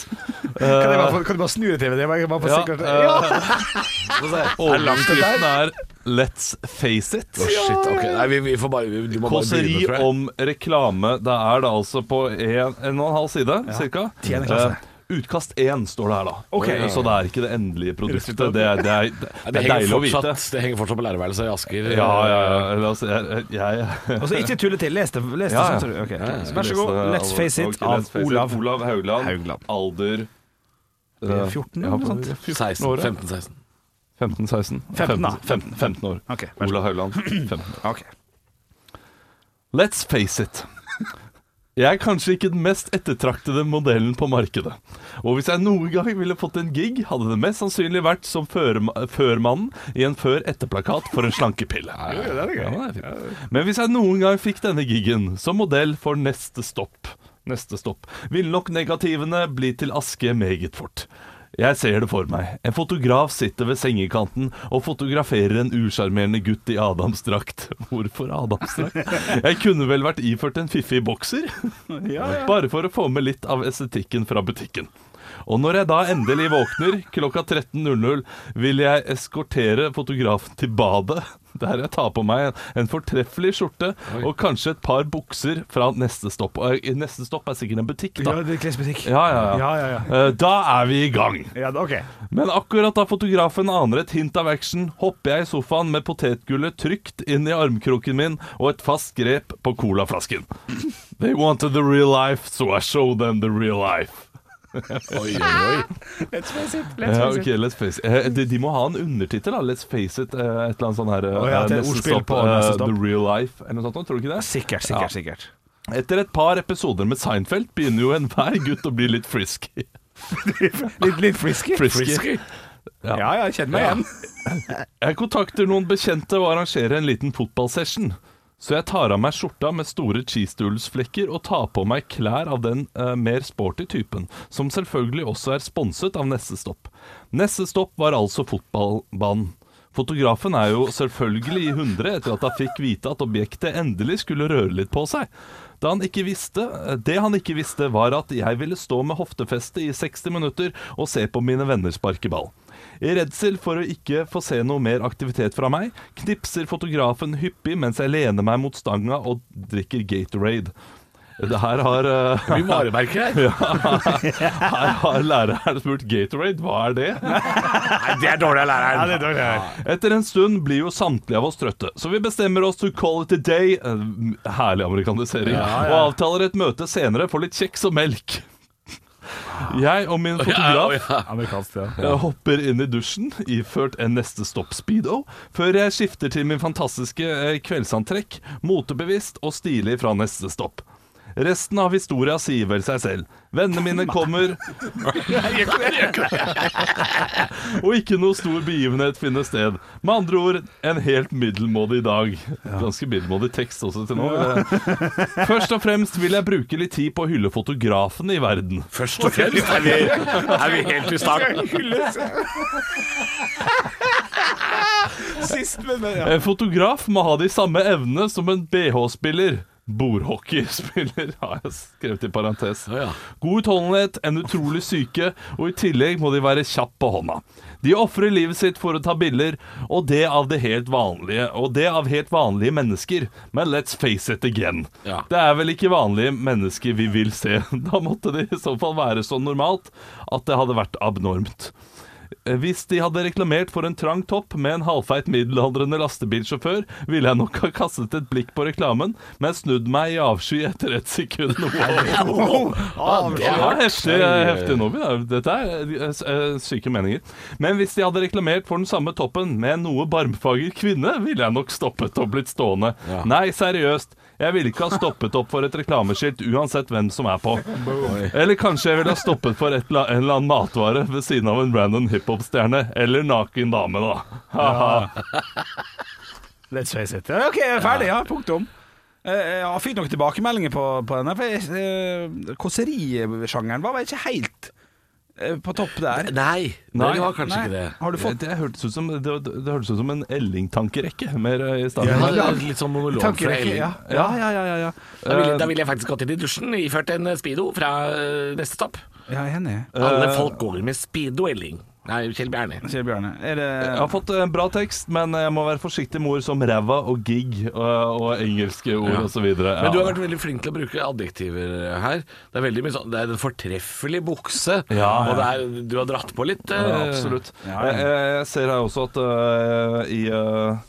Speaker 4: kan, jeg bare, få- kan du bare snu deg til det? Jeg bare- bare for
Speaker 5: Ja,
Speaker 4: sikkert-
Speaker 5: eh,
Speaker 3: det
Speaker 5: Overskriften er 'Let's face it'.
Speaker 3: Å, shit, ok. Nei, vi, vi får bare Du må bare
Speaker 5: Kåseri
Speaker 3: begynne, tror jeg.
Speaker 5: om reklame. Det er da altså på en, en og en halv side, cirka.
Speaker 4: tiende klasse.
Speaker 5: Eh, utkast 1 står det her, da. Eh,
Speaker 4: Ok.
Speaker 5: Så det er ikke det endelige produktet. Det er, det er, det er,
Speaker 3: Ja,
Speaker 5: det er deilig å vite.
Speaker 3: fortsatt, det henger fortsatt på lærerværelset i Asker.
Speaker 5: Ja, ja, ja. La oss- jeg, jeg, jeg.
Speaker 4: Og så ikke tulle til. Les det. Les det
Speaker 5: Ja, ja.
Speaker 4: sånn, som du- ok. Vær så god.
Speaker 5: Leste-
Speaker 4: Let's face it
Speaker 5: Ok,
Speaker 4: av
Speaker 5: Let's Face It.
Speaker 4: Olav.
Speaker 5: Olav Haugland.
Speaker 4: Haugland.
Speaker 5: Alder eh,
Speaker 4: 14
Speaker 5: ja,
Speaker 4: eller noe sånt?
Speaker 6: eh,
Speaker 3: 16,
Speaker 5: 14 år, ja.
Speaker 3: 15-16.
Speaker 5: 15-16.
Speaker 4: 15, da.
Speaker 5: 15, 15 år.
Speaker 4: Ok, vær så
Speaker 5: Olav Haugland. 15.
Speaker 4: Ok.
Speaker 5: Let's face it. Jeg er kanskje ikke den mest ettertraktede modellen på markedet. Og hvis jeg noen gang ville fått en gig, hadde det mest sannsynlig vært som førem- førmannen i en før-etter-plakat for en slankepille. Ja, det er fint. Men hvis jeg noen gang fikk denne gigen som modell for neste stopp, neste stopp, ville nok negativene bli til aske meget fort. Jeg ser det for meg. En fotograf sitter ved sengekanten og fotograferer en usjarmerende gutt i Adamsdrakt. Hvorfor Adamsdrakt? Jeg kunne vel vært iført en fiffig bokser? Bare for å få med litt av estetikken fra butikken. Og når jeg da endelig våkner klokka 13.00, vil jeg eskortere fotografen til badet. Der jeg tar på meg en fortreffelig skjorte og kanskje et par bukser fra neste stopp. Og eh, neste stopp er sikkert en butikk, da.
Speaker 4: Ja, det er klesbutikk.
Speaker 5: Ja, ja, ja.
Speaker 4: Ja, ja, ja.
Speaker 5: Eh, Da er vi i gang.
Speaker 4: Ja, da- ok.
Speaker 5: Men akkurat da fotografen aner et hint av action, hopper jeg i sofaen med potetgullet trygt inn i armkroken min og et fast grep på colaflasken. They wanted the real life, so I showed them the real life.
Speaker 3: Oi, oi, oi.
Speaker 5: Ja, ok, let's face it. Eh, De, de må ha en undertittel, da. Let's face it. eh, Et eller annet sånn her eh,
Speaker 4: Å ja, til
Speaker 5: neste
Speaker 4: ordspill
Speaker 5: stopp,
Speaker 4: på
Speaker 5: eh,
Speaker 4: neste stopp.
Speaker 5: The real life, eller noe sånt. Tror du ikke det?
Speaker 4: Sikkert,
Speaker 5: Ja.
Speaker 4: sikkert, sikkert.
Speaker 5: Etter et par episoder med Seinfeld begynner jo enhver gutt å bli litt frisky.
Speaker 4: Litt, litt frisky.
Speaker 5: frisky.
Speaker 4: Ja, ja, jeg kjenner meg igjen.
Speaker 5: Jeg kontakter noen bekjente og arrangerer en liten fotballsession. Så jeg tar av meg skjorta med store cheesedoodles-flekker og tar på meg klær av den eh, mer sporty typen, som selvfølgelig også er sponset av neste stopp. Neste stopp var altså fotballbanen. Fotografen er jo selvfølgelig i hundre etter at han fikk vite at objektet endelig skulle røre litt på seg. Da han ikke visste, eh, det han ikke visste, var at jeg ville stå med hoftefeste i 60 minutter og se på mine venner sparke ball. I redsel for å ikke få se noe mer aktivitet fra meg, knipser fotografen hyppig mens jeg lener meg mot stanga og drikker Gatorade. Det her har eh,
Speaker 6: Mye varemerker her.
Speaker 5: Her har læreren spurt Gatorade, hva er det?
Speaker 6: Nei, det er dårlig av læreren.
Speaker 4: det er dårlig her.
Speaker 5: Etter en stund blir jo samtlige av oss trøtte, så vi bestemmer oss to call it a day eh, Herlig amerikanisering. Og avtaler et møte senere for litt kjeks og melk. Jeg og min fotograf
Speaker 4: Amerikansk, ja.
Speaker 5: jeg hopper inn i dusjen, iført en neste stopp-speedo, før jeg skifter til min fantastiske eh, kveldsantrekk, motebevisst og stilig fra neste stopp. Resten av historia sier vel seg selv. Vennene mine kommer Og ikke noe stor begivenhet finner sted. Med andre ord en helt middelmådig dag. Ganske middelmådig tekst også til nå. Først og fremst vil jeg bruke litt tid på å hylle fotografene i verden.
Speaker 6: Først og fremst er vi, er vi helt i starten.
Speaker 4: Sist, men ja.
Speaker 5: En Eh, fotograf må ha de samme evnene som en BH-spiller. Bordhockeyspiller, har jeg skrevet i parentes.
Speaker 6: ja.
Speaker 5: God utholdenhet, en utrolig syke, og i tillegg må de være kjapp på hånda. De ofrer livet sitt for å ta bilder, og det av det helt vanlige, og det av helt vanlige mennesker. Men let's face it again.
Speaker 6: Ja.
Speaker 5: Det er vel ikke vanlige mennesker vi vil se. Da måtte det i så fall være så normalt at det hadde vært abnormt. Eh, Hvis de hadde reklamert for en trang topp med en halvfeit middelaldrende lastebilsjåfør, ville jeg nok ha kastet et blikk på reklamen, men snudd meg i avsky etter et sekund. Wow. Det er heftig, heftig nå, Vidar. Dette er eh, syke meninger. Men hvis de hadde reklamert for den samme toppen med en noe barmfager kvinne, ville jeg nok stoppet og blitt stående. Nei, seriøst. Jeg ville ikke ha stoppet opp for et reklameskilt uansett hvem som er på. Eller kanskje jeg ville ha stoppet for et, la- en eller annen matvare ved siden av en random hiphop-stjerne. Eller naken dame, da. Haha.
Speaker 4: Let's face it. Ja, OK, jeg er ferdig. Ja, punktum. Eh, Jeg fikk noen tilbakemeldinger på, på denne. For jeg, eh, Kåserisjangeren var vel ikke helt eh, på topp der.
Speaker 6: Nei,
Speaker 5: Nei.
Speaker 6: Nei, det var kanskje
Speaker 4: Nei.
Speaker 6: ikke det.
Speaker 4: Har du
Speaker 5: Det,
Speaker 4: fått
Speaker 5: det hørtes ut som, det, det, det hørtes ut som en Elling-tankerekke mer eh, i stedet.
Speaker 6: Han
Speaker 4: Ja,
Speaker 6: hadde lagd litt sånn monolog fra
Speaker 4: tankerekke?
Speaker 6: Elling.
Speaker 4: Ja. Ja, ja, ja, ja, ja.
Speaker 6: Da
Speaker 5: Eh.
Speaker 6: ville, da ville jeg faktisk gått inn i dusjen, iført en eh, speedo fra eh, neste stopp.
Speaker 4: Ja, jeg er enig.
Speaker 5: Eh.
Speaker 6: Alle folk går med speedo, Elling. Nei, Kjell Bjerne.
Speaker 4: Sier Bjarne. Er det
Speaker 5: Jeg har fått en bra tekst, men jeg må være forsiktig med ord som ræva og gig og, og engelske ord og osv.
Speaker 6: Men du har
Speaker 5: Ja.
Speaker 6: vært veldig flink til å bruke adjektiver her. Det er veldig mye sånn Det er en fortreffelig bukse,
Speaker 5: ja.
Speaker 6: og det er, du har dratt på litt. eh,
Speaker 5: Absolutt.
Speaker 4: Ja, ja.
Speaker 5: Jeg, jeg jeg ser her også at øh, i, øh,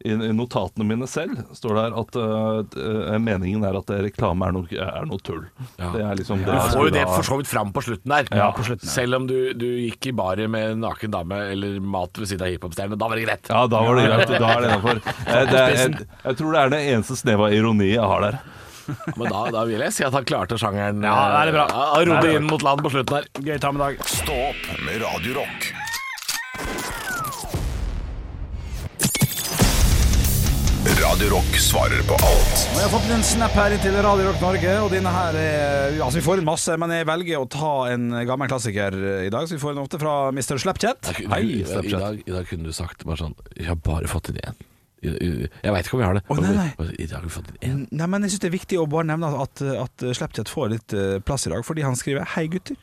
Speaker 5: i, i notatene mine selv står det her at øh, øh, meningen er at reklame er noe, er noe tull.
Speaker 6: Ja.
Speaker 5: Det er liksom
Speaker 6: Du
Speaker 5: det jeg
Speaker 6: får jo
Speaker 5: skulle
Speaker 6: det
Speaker 5: ha-
Speaker 6: for så vidt fram på slutten der.
Speaker 5: Ja, på
Speaker 6: Selv om du, du gikk i baret med en naken dame eller mat ved siden av hiphopstjerne, da var det greit.
Speaker 5: Ja, da var det greit. Da er det innafor. Jeg, jeg tror det er det eneste snevet av ironi jeg har der.
Speaker 6: Men da, da vil jeg si at han klarte sjangeren.
Speaker 4: Ja, da er det bra.
Speaker 6: Han rodde inn mot land på slutten her.
Speaker 4: gøy ta med dag?
Speaker 1: Stå opp med Radio Rock. Radio Rock svarer på alt
Speaker 4: Og Jeg har fått en snap her til Radio Rock Norge, og denne her er Altså, vi får en masse, men jeg velger å ta en gammel klassiker eh, i dag, så vi får en ofte fra Mr. Slapchat.
Speaker 5: Hei,
Speaker 6: I,
Speaker 5: Snapchat.
Speaker 6: dag, I dag kunne du sagt bare sånn Jeg har bare fått inn én. I- i- Jeg veit ikke om vi har det.
Speaker 4: Å, nei, nei.
Speaker 6: Men I dag har vi fått inn én.
Speaker 4: Nei, men jeg syns det er viktig å bare nevne at, at Slapchat får litt eh, plass i dag, fordi han skriver Hei, gutter.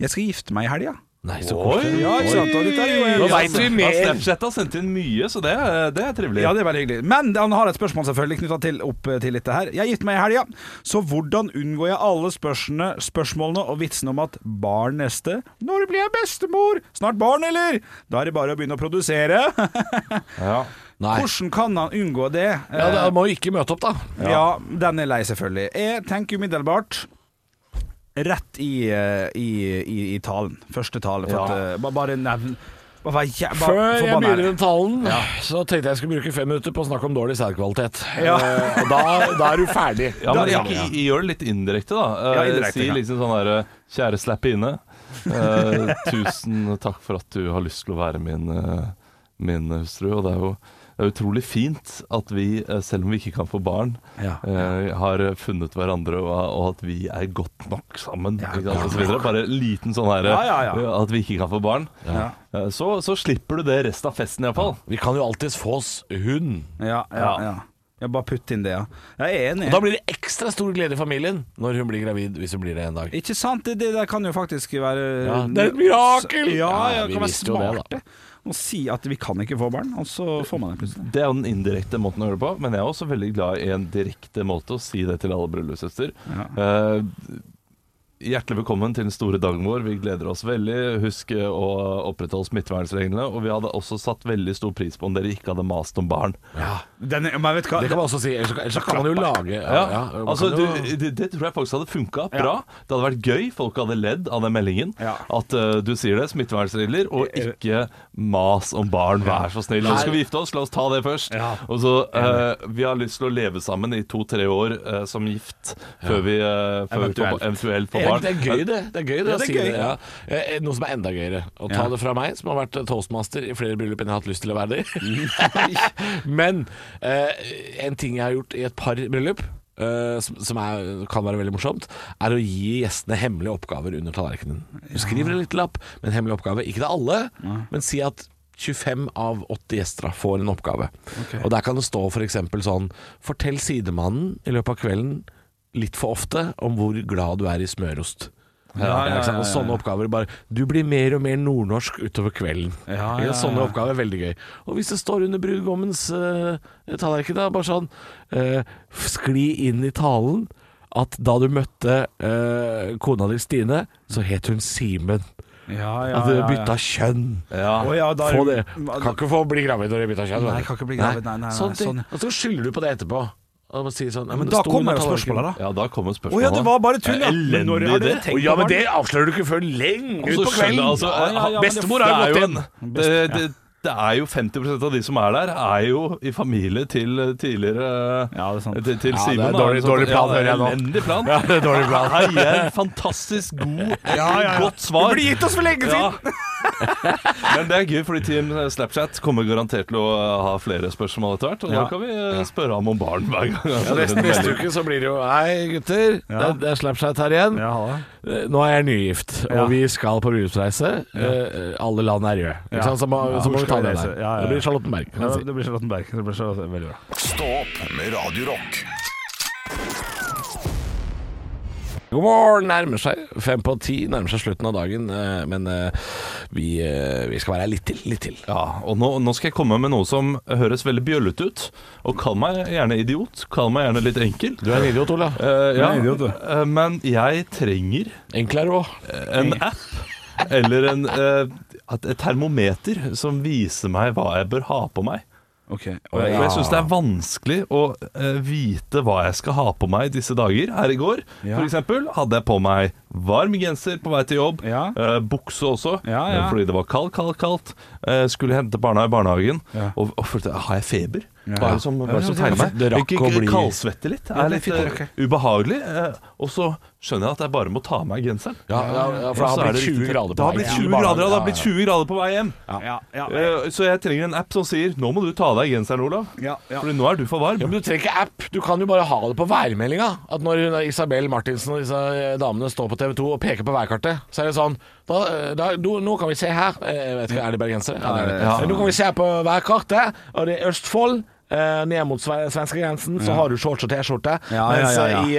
Speaker 4: Jeg skal gifte meg i helga.
Speaker 6: Nei, så
Speaker 5: Oi,
Speaker 6: koselig.
Speaker 4: Ja, ikke sant? Og dette er jo en-
Speaker 6: Nå vet vi mer.
Speaker 5: Ja, Snapchat har sendt inn mye, så det, er- det er trivelig.
Speaker 4: Ja, det er veldig hyggelig. Men han har et spørsmål selvfølgelig knytta til, opp til dette her. Jeg er gift meg i helga, så hvordan unngår jeg alle spørsmålene, spørsmålene og vitsen om at barn neste Når blir jeg bestemor? Snart barn, eller? Da er det bare å begynne å produsere.
Speaker 5: Ja.
Speaker 6: Nei.
Speaker 4: Hvordan kan han unngå det?
Speaker 6: Ja, da må vi ikke møte opp, da.
Speaker 4: Ja. den er lei, selvfølgelig. Jeg tenker umiddelbart rett i, eh, i, i, i talen. Første tale. For
Speaker 5: Ja.
Speaker 4: at, eh, ba- bare nevn bare, vær jæ- bare,
Speaker 6: Før jeg
Speaker 4: forbanna
Speaker 6: begynner
Speaker 4: ærlig.
Speaker 6: den talen, så tenkte jeg jeg skulle bruke fem minutter på å snakke om dårlig sædkvalitet.
Speaker 4: Ja.
Speaker 6: Eh, og da, da er du ferdig.
Speaker 5: Ja, men
Speaker 4: Da-
Speaker 5: ikke, i- gjør det litt indirekte, da. Eh,
Speaker 4: Ja, indirekte,
Speaker 5: si
Speaker 4: ja.
Speaker 5: liksom sånn derre Kjære slappine. eh, tusen takk for at du har lyst til å være min, eh, min eh, hustru. Og det er jo Det er utrolig fint at vi, eh, selv om vi ikke kan få barn,
Speaker 4: Ja.
Speaker 5: eh, har funnet hverandre, og, og at vi er godt nok sammen. ikke sant, og så videre. Bare en liten sånn her
Speaker 4: Ja, ja, ja.
Speaker 5: eh, At vi ikke kan få barn.
Speaker 4: Ja.
Speaker 5: Eh, Så, så slipper du det resten av festen, iallfall.
Speaker 3: Vi kan jo alltids få oss hund.
Speaker 4: Ja, ja, ja. Jeg bare putt inn det, ja. Jeg er enig.
Speaker 3: Og da blir det ekstra stor glede i familien når hun blir gravid, hvis hun blir det en dag.
Speaker 4: Ikke sant? Det, det der kan jo faktisk være
Speaker 3: Ja, det er et mirakel!
Speaker 4: Ja,
Speaker 3: Ja,
Speaker 4: ja,
Speaker 3: vi
Speaker 4: kan være
Speaker 3: visste jo det,
Speaker 4: smarte og si at vi kan ikke få barn, og så får man det plutselig.
Speaker 5: Det er jo den indirekte måten å gjøre det på, men jeg er også veldig glad i en direkte måte å si det til alle bryllupssøster. Eh, hjertelig velkommen til den store dagen vår. Vi gleder oss veldig. Husk eh, å opprettholde smittevernreglene. Og vi hadde også satt veldig stor pris på om dere ikke hadde mast om barn.
Speaker 4: Den, er- men vet du hva?
Speaker 3: Det kan man også si. Ellers, ellers så kan man jo lage ja, ja, man
Speaker 5: altså,
Speaker 3: kan
Speaker 5: du,
Speaker 3: jo-
Speaker 5: det, det tror jeg faktisk hadde funka bra. Det hadde vært gøy. Folk hadde ledd av den meldingen.
Speaker 4: Ja.
Speaker 5: At eh, du sier det, smittevernregler, og ikke mas om barn, vær så snill. Nå skal vi gifte oss, la oss ta det først. Og så eh, Vi har lyst til å leve sammen i to-tre år eh, som gift før vi eh, før vi får,
Speaker 4: Eventuelt.
Speaker 5: eventuelt får
Speaker 3: Erik,
Speaker 5: barn.
Speaker 3: det er gøy, det. Det er gøy, det,
Speaker 4: Ja,
Speaker 3: å
Speaker 4: det er
Speaker 3: si
Speaker 4: gøy.
Speaker 3: det. Ja. Eh, Noe som er enda gøyere. Å ta
Speaker 4: Ja.
Speaker 3: det fra meg, som har vært toastmaster i flere bryllup enn jeg har hatt lyst til å være det i. Men eh, en ting jeg har gjort i et par bryllup, eh, som, som er, kan være veldig morsomt, er å gi gjestene hemmelige oppgaver under tallerkenen. Du skriver en liten lapp med en hemmelig oppgave. Ikke til alle, men si at 25 av 80 gjester da får en oppgave. Og Der kan det stå f.eks. sånn Fortell sidemannen i løpet av kvelden litt for ofte om hvor glad du er i smørost. ikke sånn
Speaker 4: ja, ja,
Speaker 3: sant? Og
Speaker 4: ja, ja.
Speaker 3: Sånne oppgaver bare Du blir mer og mer nordnorsk utover kvelden.
Speaker 4: Ja,
Speaker 3: Ikke sant?
Speaker 4: ja,
Speaker 3: Sånne
Speaker 4: ja.
Speaker 3: oppgaver er veldig gøy. Og hvis det står under brudgommens uh, tallerken, da, bare sånn eh, Skli inn i talen at da du møtte eh, kona di Stine, så het hun Simen.
Speaker 4: Ja, ja,
Speaker 3: At du
Speaker 4: ja, ja.
Speaker 3: bytta kjønn.
Speaker 4: Å ja, da-
Speaker 3: Få det. Kan ikke få bli gravid når du bytter kjønn.
Speaker 4: Nei,
Speaker 3: vet du.
Speaker 4: kan ikke bli gravid. Nei, nei, nei,
Speaker 3: sånn ting.
Speaker 4: sånn, ja.
Speaker 3: Og så skylder du på det etterpå. Og si sånn, ja,
Speaker 4: Men
Speaker 3: det
Speaker 4: da
Speaker 3: sto
Speaker 4: kommer
Speaker 3: under
Speaker 4: jo
Speaker 3: tallerkenen.
Speaker 4: spørsmålet, da.
Speaker 5: Ja, da kommer
Speaker 4: Å
Speaker 5: spørsmålet.
Speaker 4: ja, det var bare tull, ja.
Speaker 5: Eh,
Speaker 4: Men når har
Speaker 5: Elendig idé.
Speaker 4: dere tenkt
Speaker 3: Å, ja,
Speaker 4: på
Speaker 3: men
Speaker 4: barn?
Speaker 3: det avslører du ikke før lenge
Speaker 5: Og
Speaker 3: utpå
Speaker 5: så skjønner
Speaker 3: kvelden.
Speaker 5: jeg, altså,
Speaker 4: Ja, ja, ja, men
Speaker 3: Bestemor har jo
Speaker 5: det
Speaker 3: gått
Speaker 5: er
Speaker 3: inn.
Speaker 5: en- Det, det, det er jo 50 av de som er der, er jo i familie til eh, tidligere
Speaker 4: Ja, det er sant.
Speaker 5: Til,
Speaker 3: Ja, det
Speaker 5: til
Speaker 3: er
Speaker 5: Simon. da. liksom.
Speaker 3: dårlig-
Speaker 5: Så-
Speaker 3: dårlig plan, hører jeg nå.
Speaker 5: Elendig plan.
Speaker 3: Ja, det er dårlig plan.
Speaker 5: Her gir jeg en fantastisk god, godt svar.
Speaker 4: Det ble gitt oss for lenge
Speaker 5: Ja.
Speaker 4: siden!
Speaker 5: Men det er gøy, fordi Team Snapchat kommer garantert til å eh, ha flere spørsmål etter hvert. Og
Speaker 4: Ja.
Speaker 5: da kan vi eh, spørre ham om barn hver gang. Altså,
Speaker 3: Ja, neste, neste uke så blir det jo Hei, gutter. Det, det er Slapchat her igjen. Eh, Nå er jeg nygift, og
Speaker 4: Ja.
Speaker 3: vi skal på bryllupsreise. Eh, alle land er røde. Ikke
Speaker 4: Ja.
Speaker 3: sant? Så må,
Speaker 4: Ja,
Speaker 3: så må
Speaker 4: hvor
Speaker 3: vi ta
Speaker 4: skal vi
Speaker 3: det
Speaker 4: reise?
Speaker 3: der.
Speaker 4: Ja, ja,
Speaker 3: Det
Speaker 4: ja.
Speaker 3: blir Charlottenberg. kan jeg si.
Speaker 4: blir Charlottenberg. Det blir så veldig bra.
Speaker 1: Stå opp med Radio Rock.
Speaker 3: God morgen nærmer seg. Fem på ti nærmer seg slutten av dagen. eh, Men eh, vi, eh, vi skal være her litt til. Litt til.
Speaker 5: Ja, og nå, nå skal jeg komme med noe som høres veldig bjøllete ut. Og kall meg gjerne idiot. Kall meg gjerne litt enkel.
Speaker 3: Du er en idiot, Ola.
Speaker 5: Eh, ja,
Speaker 4: Du er idiot, du.
Speaker 5: eh, men jeg trenger
Speaker 3: Enklere òg.
Speaker 5: en app eller en, eh, et et termometer som viser meg hva jeg bør ha på meg.
Speaker 4: Ok.
Speaker 5: For jeg syns det er vanskelig å eh, vite hva jeg skal ha på meg disse dager. Her i går
Speaker 4: Ja.
Speaker 5: for eksempel, hadde jeg på meg varm genser på vei til jobb.
Speaker 4: Ja.
Speaker 5: eh, bukse også,
Speaker 4: Ja, ja.
Speaker 5: eh, fordi det var kaldt, kaldt, kaldt. Eh, skulle hente barna i barnehagen.
Speaker 4: Ja.
Speaker 5: Og, og følte Har jeg feber? Hva er det som, hva er det som
Speaker 4: Ja, det-
Speaker 5: feiler meg?
Speaker 3: det rakk
Speaker 5: Ikke-
Speaker 3: å bli-
Speaker 5: Kaldsvette litt. Det
Speaker 4: Ja,
Speaker 5: er
Speaker 4: det
Speaker 5: litt
Speaker 4: er fint,
Speaker 5: eh, ubehagelig. eh, og så skjønner jeg at jeg bare må ta av meg genseren.
Speaker 3: Ja, ja, ja, for det
Speaker 5: Og så
Speaker 3: har
Speaker 5: er
Speaker 3: blitt
Speaker 5: riktig
Speaker 3: 20
Speaker 5: til-
Speaker 3: grader
Speaker 5: Det
Speaker 3: på
Speaker 5: har
Speaker 3: vei
Speaker 5: blitt
Speaker 3: til
Speaker 5: 20 grader, og det har
Speaker 3: barnehagen.
Speaker 5: blitt 20 grader på vei hjem.
Speaker 4: Ja, ja,
Speaker 5: Eh, Så jeg trenger en app som sier 'Nå må du ta av deg genseren, Olav',
Speaker 4: ja, ja.
Speaker 5: Fordi nå er du for varm.
Speaker 3: Ja, men Du trenger ikke app, du kan jo bare ha det på værmeldinga. At når hun, Isabel Martinsen og disse eh, damene står på TV 2 og peker på værkartet, så er det sånn da, eh, da, du, Nå kan vi se her Eh, Jeg vet ikke, Er de bergensere? Ja, det er det.
Speaker 5: Ja.
Speaker 3: Men Nå kan vi se på værkartet, og det er Østfold. eh, ned mot sve- svenskegrensen så har du shorts og T-skjorte.
Speaker 4: Ja, ja,
Speaker 3: Mens
Speaker 4: ja,
Speaker 3: eh,
Speaker 4: ja.
Speaker 3: i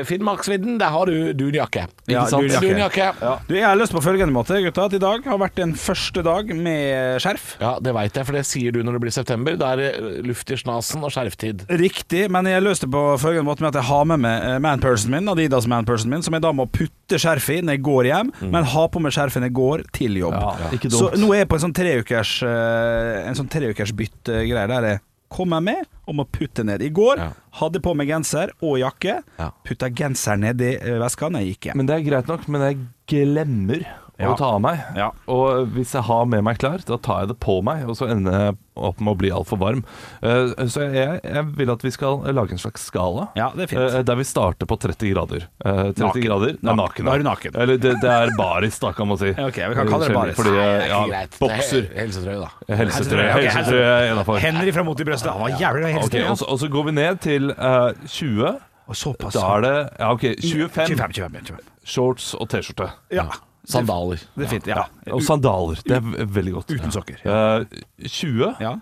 Speaker 3: eh, Finnmarksvidden, der har du dunjakke. Ikke
Speaker 4: Ja,
Speaker 3: sant?
Speaker 4: dunjakke.
Speaker 3: Dunjakke. Ja.
Speaker 4: Du, Jeg har lyst på følgende måte, gutta, at i dag har vært den første dag med skjerf.
Speaker 3: det veit jeg, for det sier du når det blir september. Da er det eh, luft i snasen og skjerftid.
Speaker 4: Riktig, men jeg løste på følgende måte med at jeg har med meg eh, manpersonen min, Adidas manpersonen min, som jeg da må putte skjerfet i når jeg går hjem, men ha på meg skjerfen jeg går til jobb.
Speaker 5: Mm. Ja, ikke
Speaker 4: Så
Speaker 5: dumt.
Speaker 4: nå er jeg på en sånn treukers eh, En sånn treukers byttegreie der jeg kommer med og må putte ned. I går
Speaker 3: Ja.
Speaker 4: hadde jeg på meg genser og jakke.
Speaker 3: Ja.
Speaker 4: Putta genseren ned i eh, veska når jeg gikk hjem.
Speaker 5: Men det er greit nok, men jeg glemmer å ta av meg.
Speaker 4: Ja.
Speaker 5: Og hvis jeg har med meg klær, da tar jeg det på meg, og så ender jeg opp med å bli altfor varm. Eh, Så jeg, jeg vil at vi skal lage en slags skala.
Speaker 4: Ja, det er fint.
Speaker 5: eh, Der vi starter på 30 grader. Eh, 30
Speaker 4: Naken.
Speaker 5: grader Nei,
Speaker 4: Naken.
Speaker 5: naken.
Speaker 4: Da er du naken.
Speaker 5: Eller det, det er baris, da, kan man si.
Speaker 4: Ok, vi kan kalle det
Speaker 5: Eh,
Speaker 4: baris.
Speaker 5: Fordi,
Speaker 3: Nei, det er
Speaker 5: ja,
Speaker 3: ikke greit.
Speaker 5: bokser.
Speaker 3: Det er Helsetrøy, da.
Speaker 5: Helsetrøye.
Speaker 4: Ok,
Speaker 5: Helsetrøye er innafor.
Speaker 4: Henry fra Mot i brøstet. Han var jævlig
Speaker 5: eh, Ok,
Speaker 4: helsetrøye.
Speaker 5: og, så- og så går vi ned til eh, 20.
Speaker 4: Og såpass.
Speaker 5: Da er det ja, ok, 25,
Speaker 4: 25, 25, 25.
Speaker 5: shorts og T-skjorte.
Speaker 4: Ja,
Speaker 3: Sandaler.
Speaker 4: det er fint. Ja.
Speaker 5: Og sandaler. Det er ve- veldig godt.
Speaker 4: Uten sokker.
Speaker 5: Eh, 20
Speaker 4: Ja.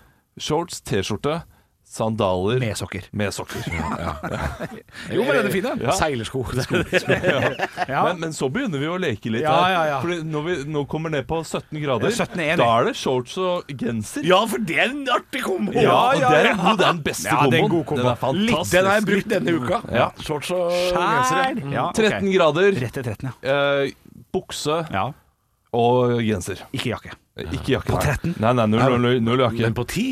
Speaker 5: shorts, T-skjorte, sandaler
Speaker 4: Med sokker.
Speaker 5: med sokker.
Speaker 4: Jo, men den er fin, den.
Speaker 5: Ja.
Speaker 3: Seilersko. Det er det.
Speaker 5: Men, men så begynner vi å leke litt.
Speaker 4: Ja,
Speaker 5: her.
Speaker 4: ja, ja.
Speaker 5: Fordi når vi nå kommer ned på 17 grader,
Speaker 4: Ja, 17,1.
Speaker 5: da er det shorts og genser.
Speaker 3: Ja, for det er en artig kombo!
Speaker 5: Ja,
Speaker 4: Ja,
Speaker 5: og
Speaker 4: ja,
Speaker 5: det er, en
Speaker 4: ja.
Speaker 5: god, det er den beste
Speaker 4: Ja, det er en
Speaker 5: komboen.
Speaker 4: god kombo.
Speaker 5: Den er fantastisk.
Speaker 3: Den har jeg brukt denne uka.
Speaker 5: Ja.
Speaker 3: Shorts og
Speaker 4: Skjær!
Speaker 3: gensere.
Speaker 4: Ja, ok.
Speaker 5: 13 grader,
Speaker 4: Rett til 13, ja.
Speaker 5: eh, bukse
Speaker 4: ja.
Speaker 5: og genser.
Speaker 4: Ikke jakke.
Speaker 5: Eh, Ikke jakke. På 13? Nei, nei, null, null, null, null jakke.
Speaker 3: Men på ti?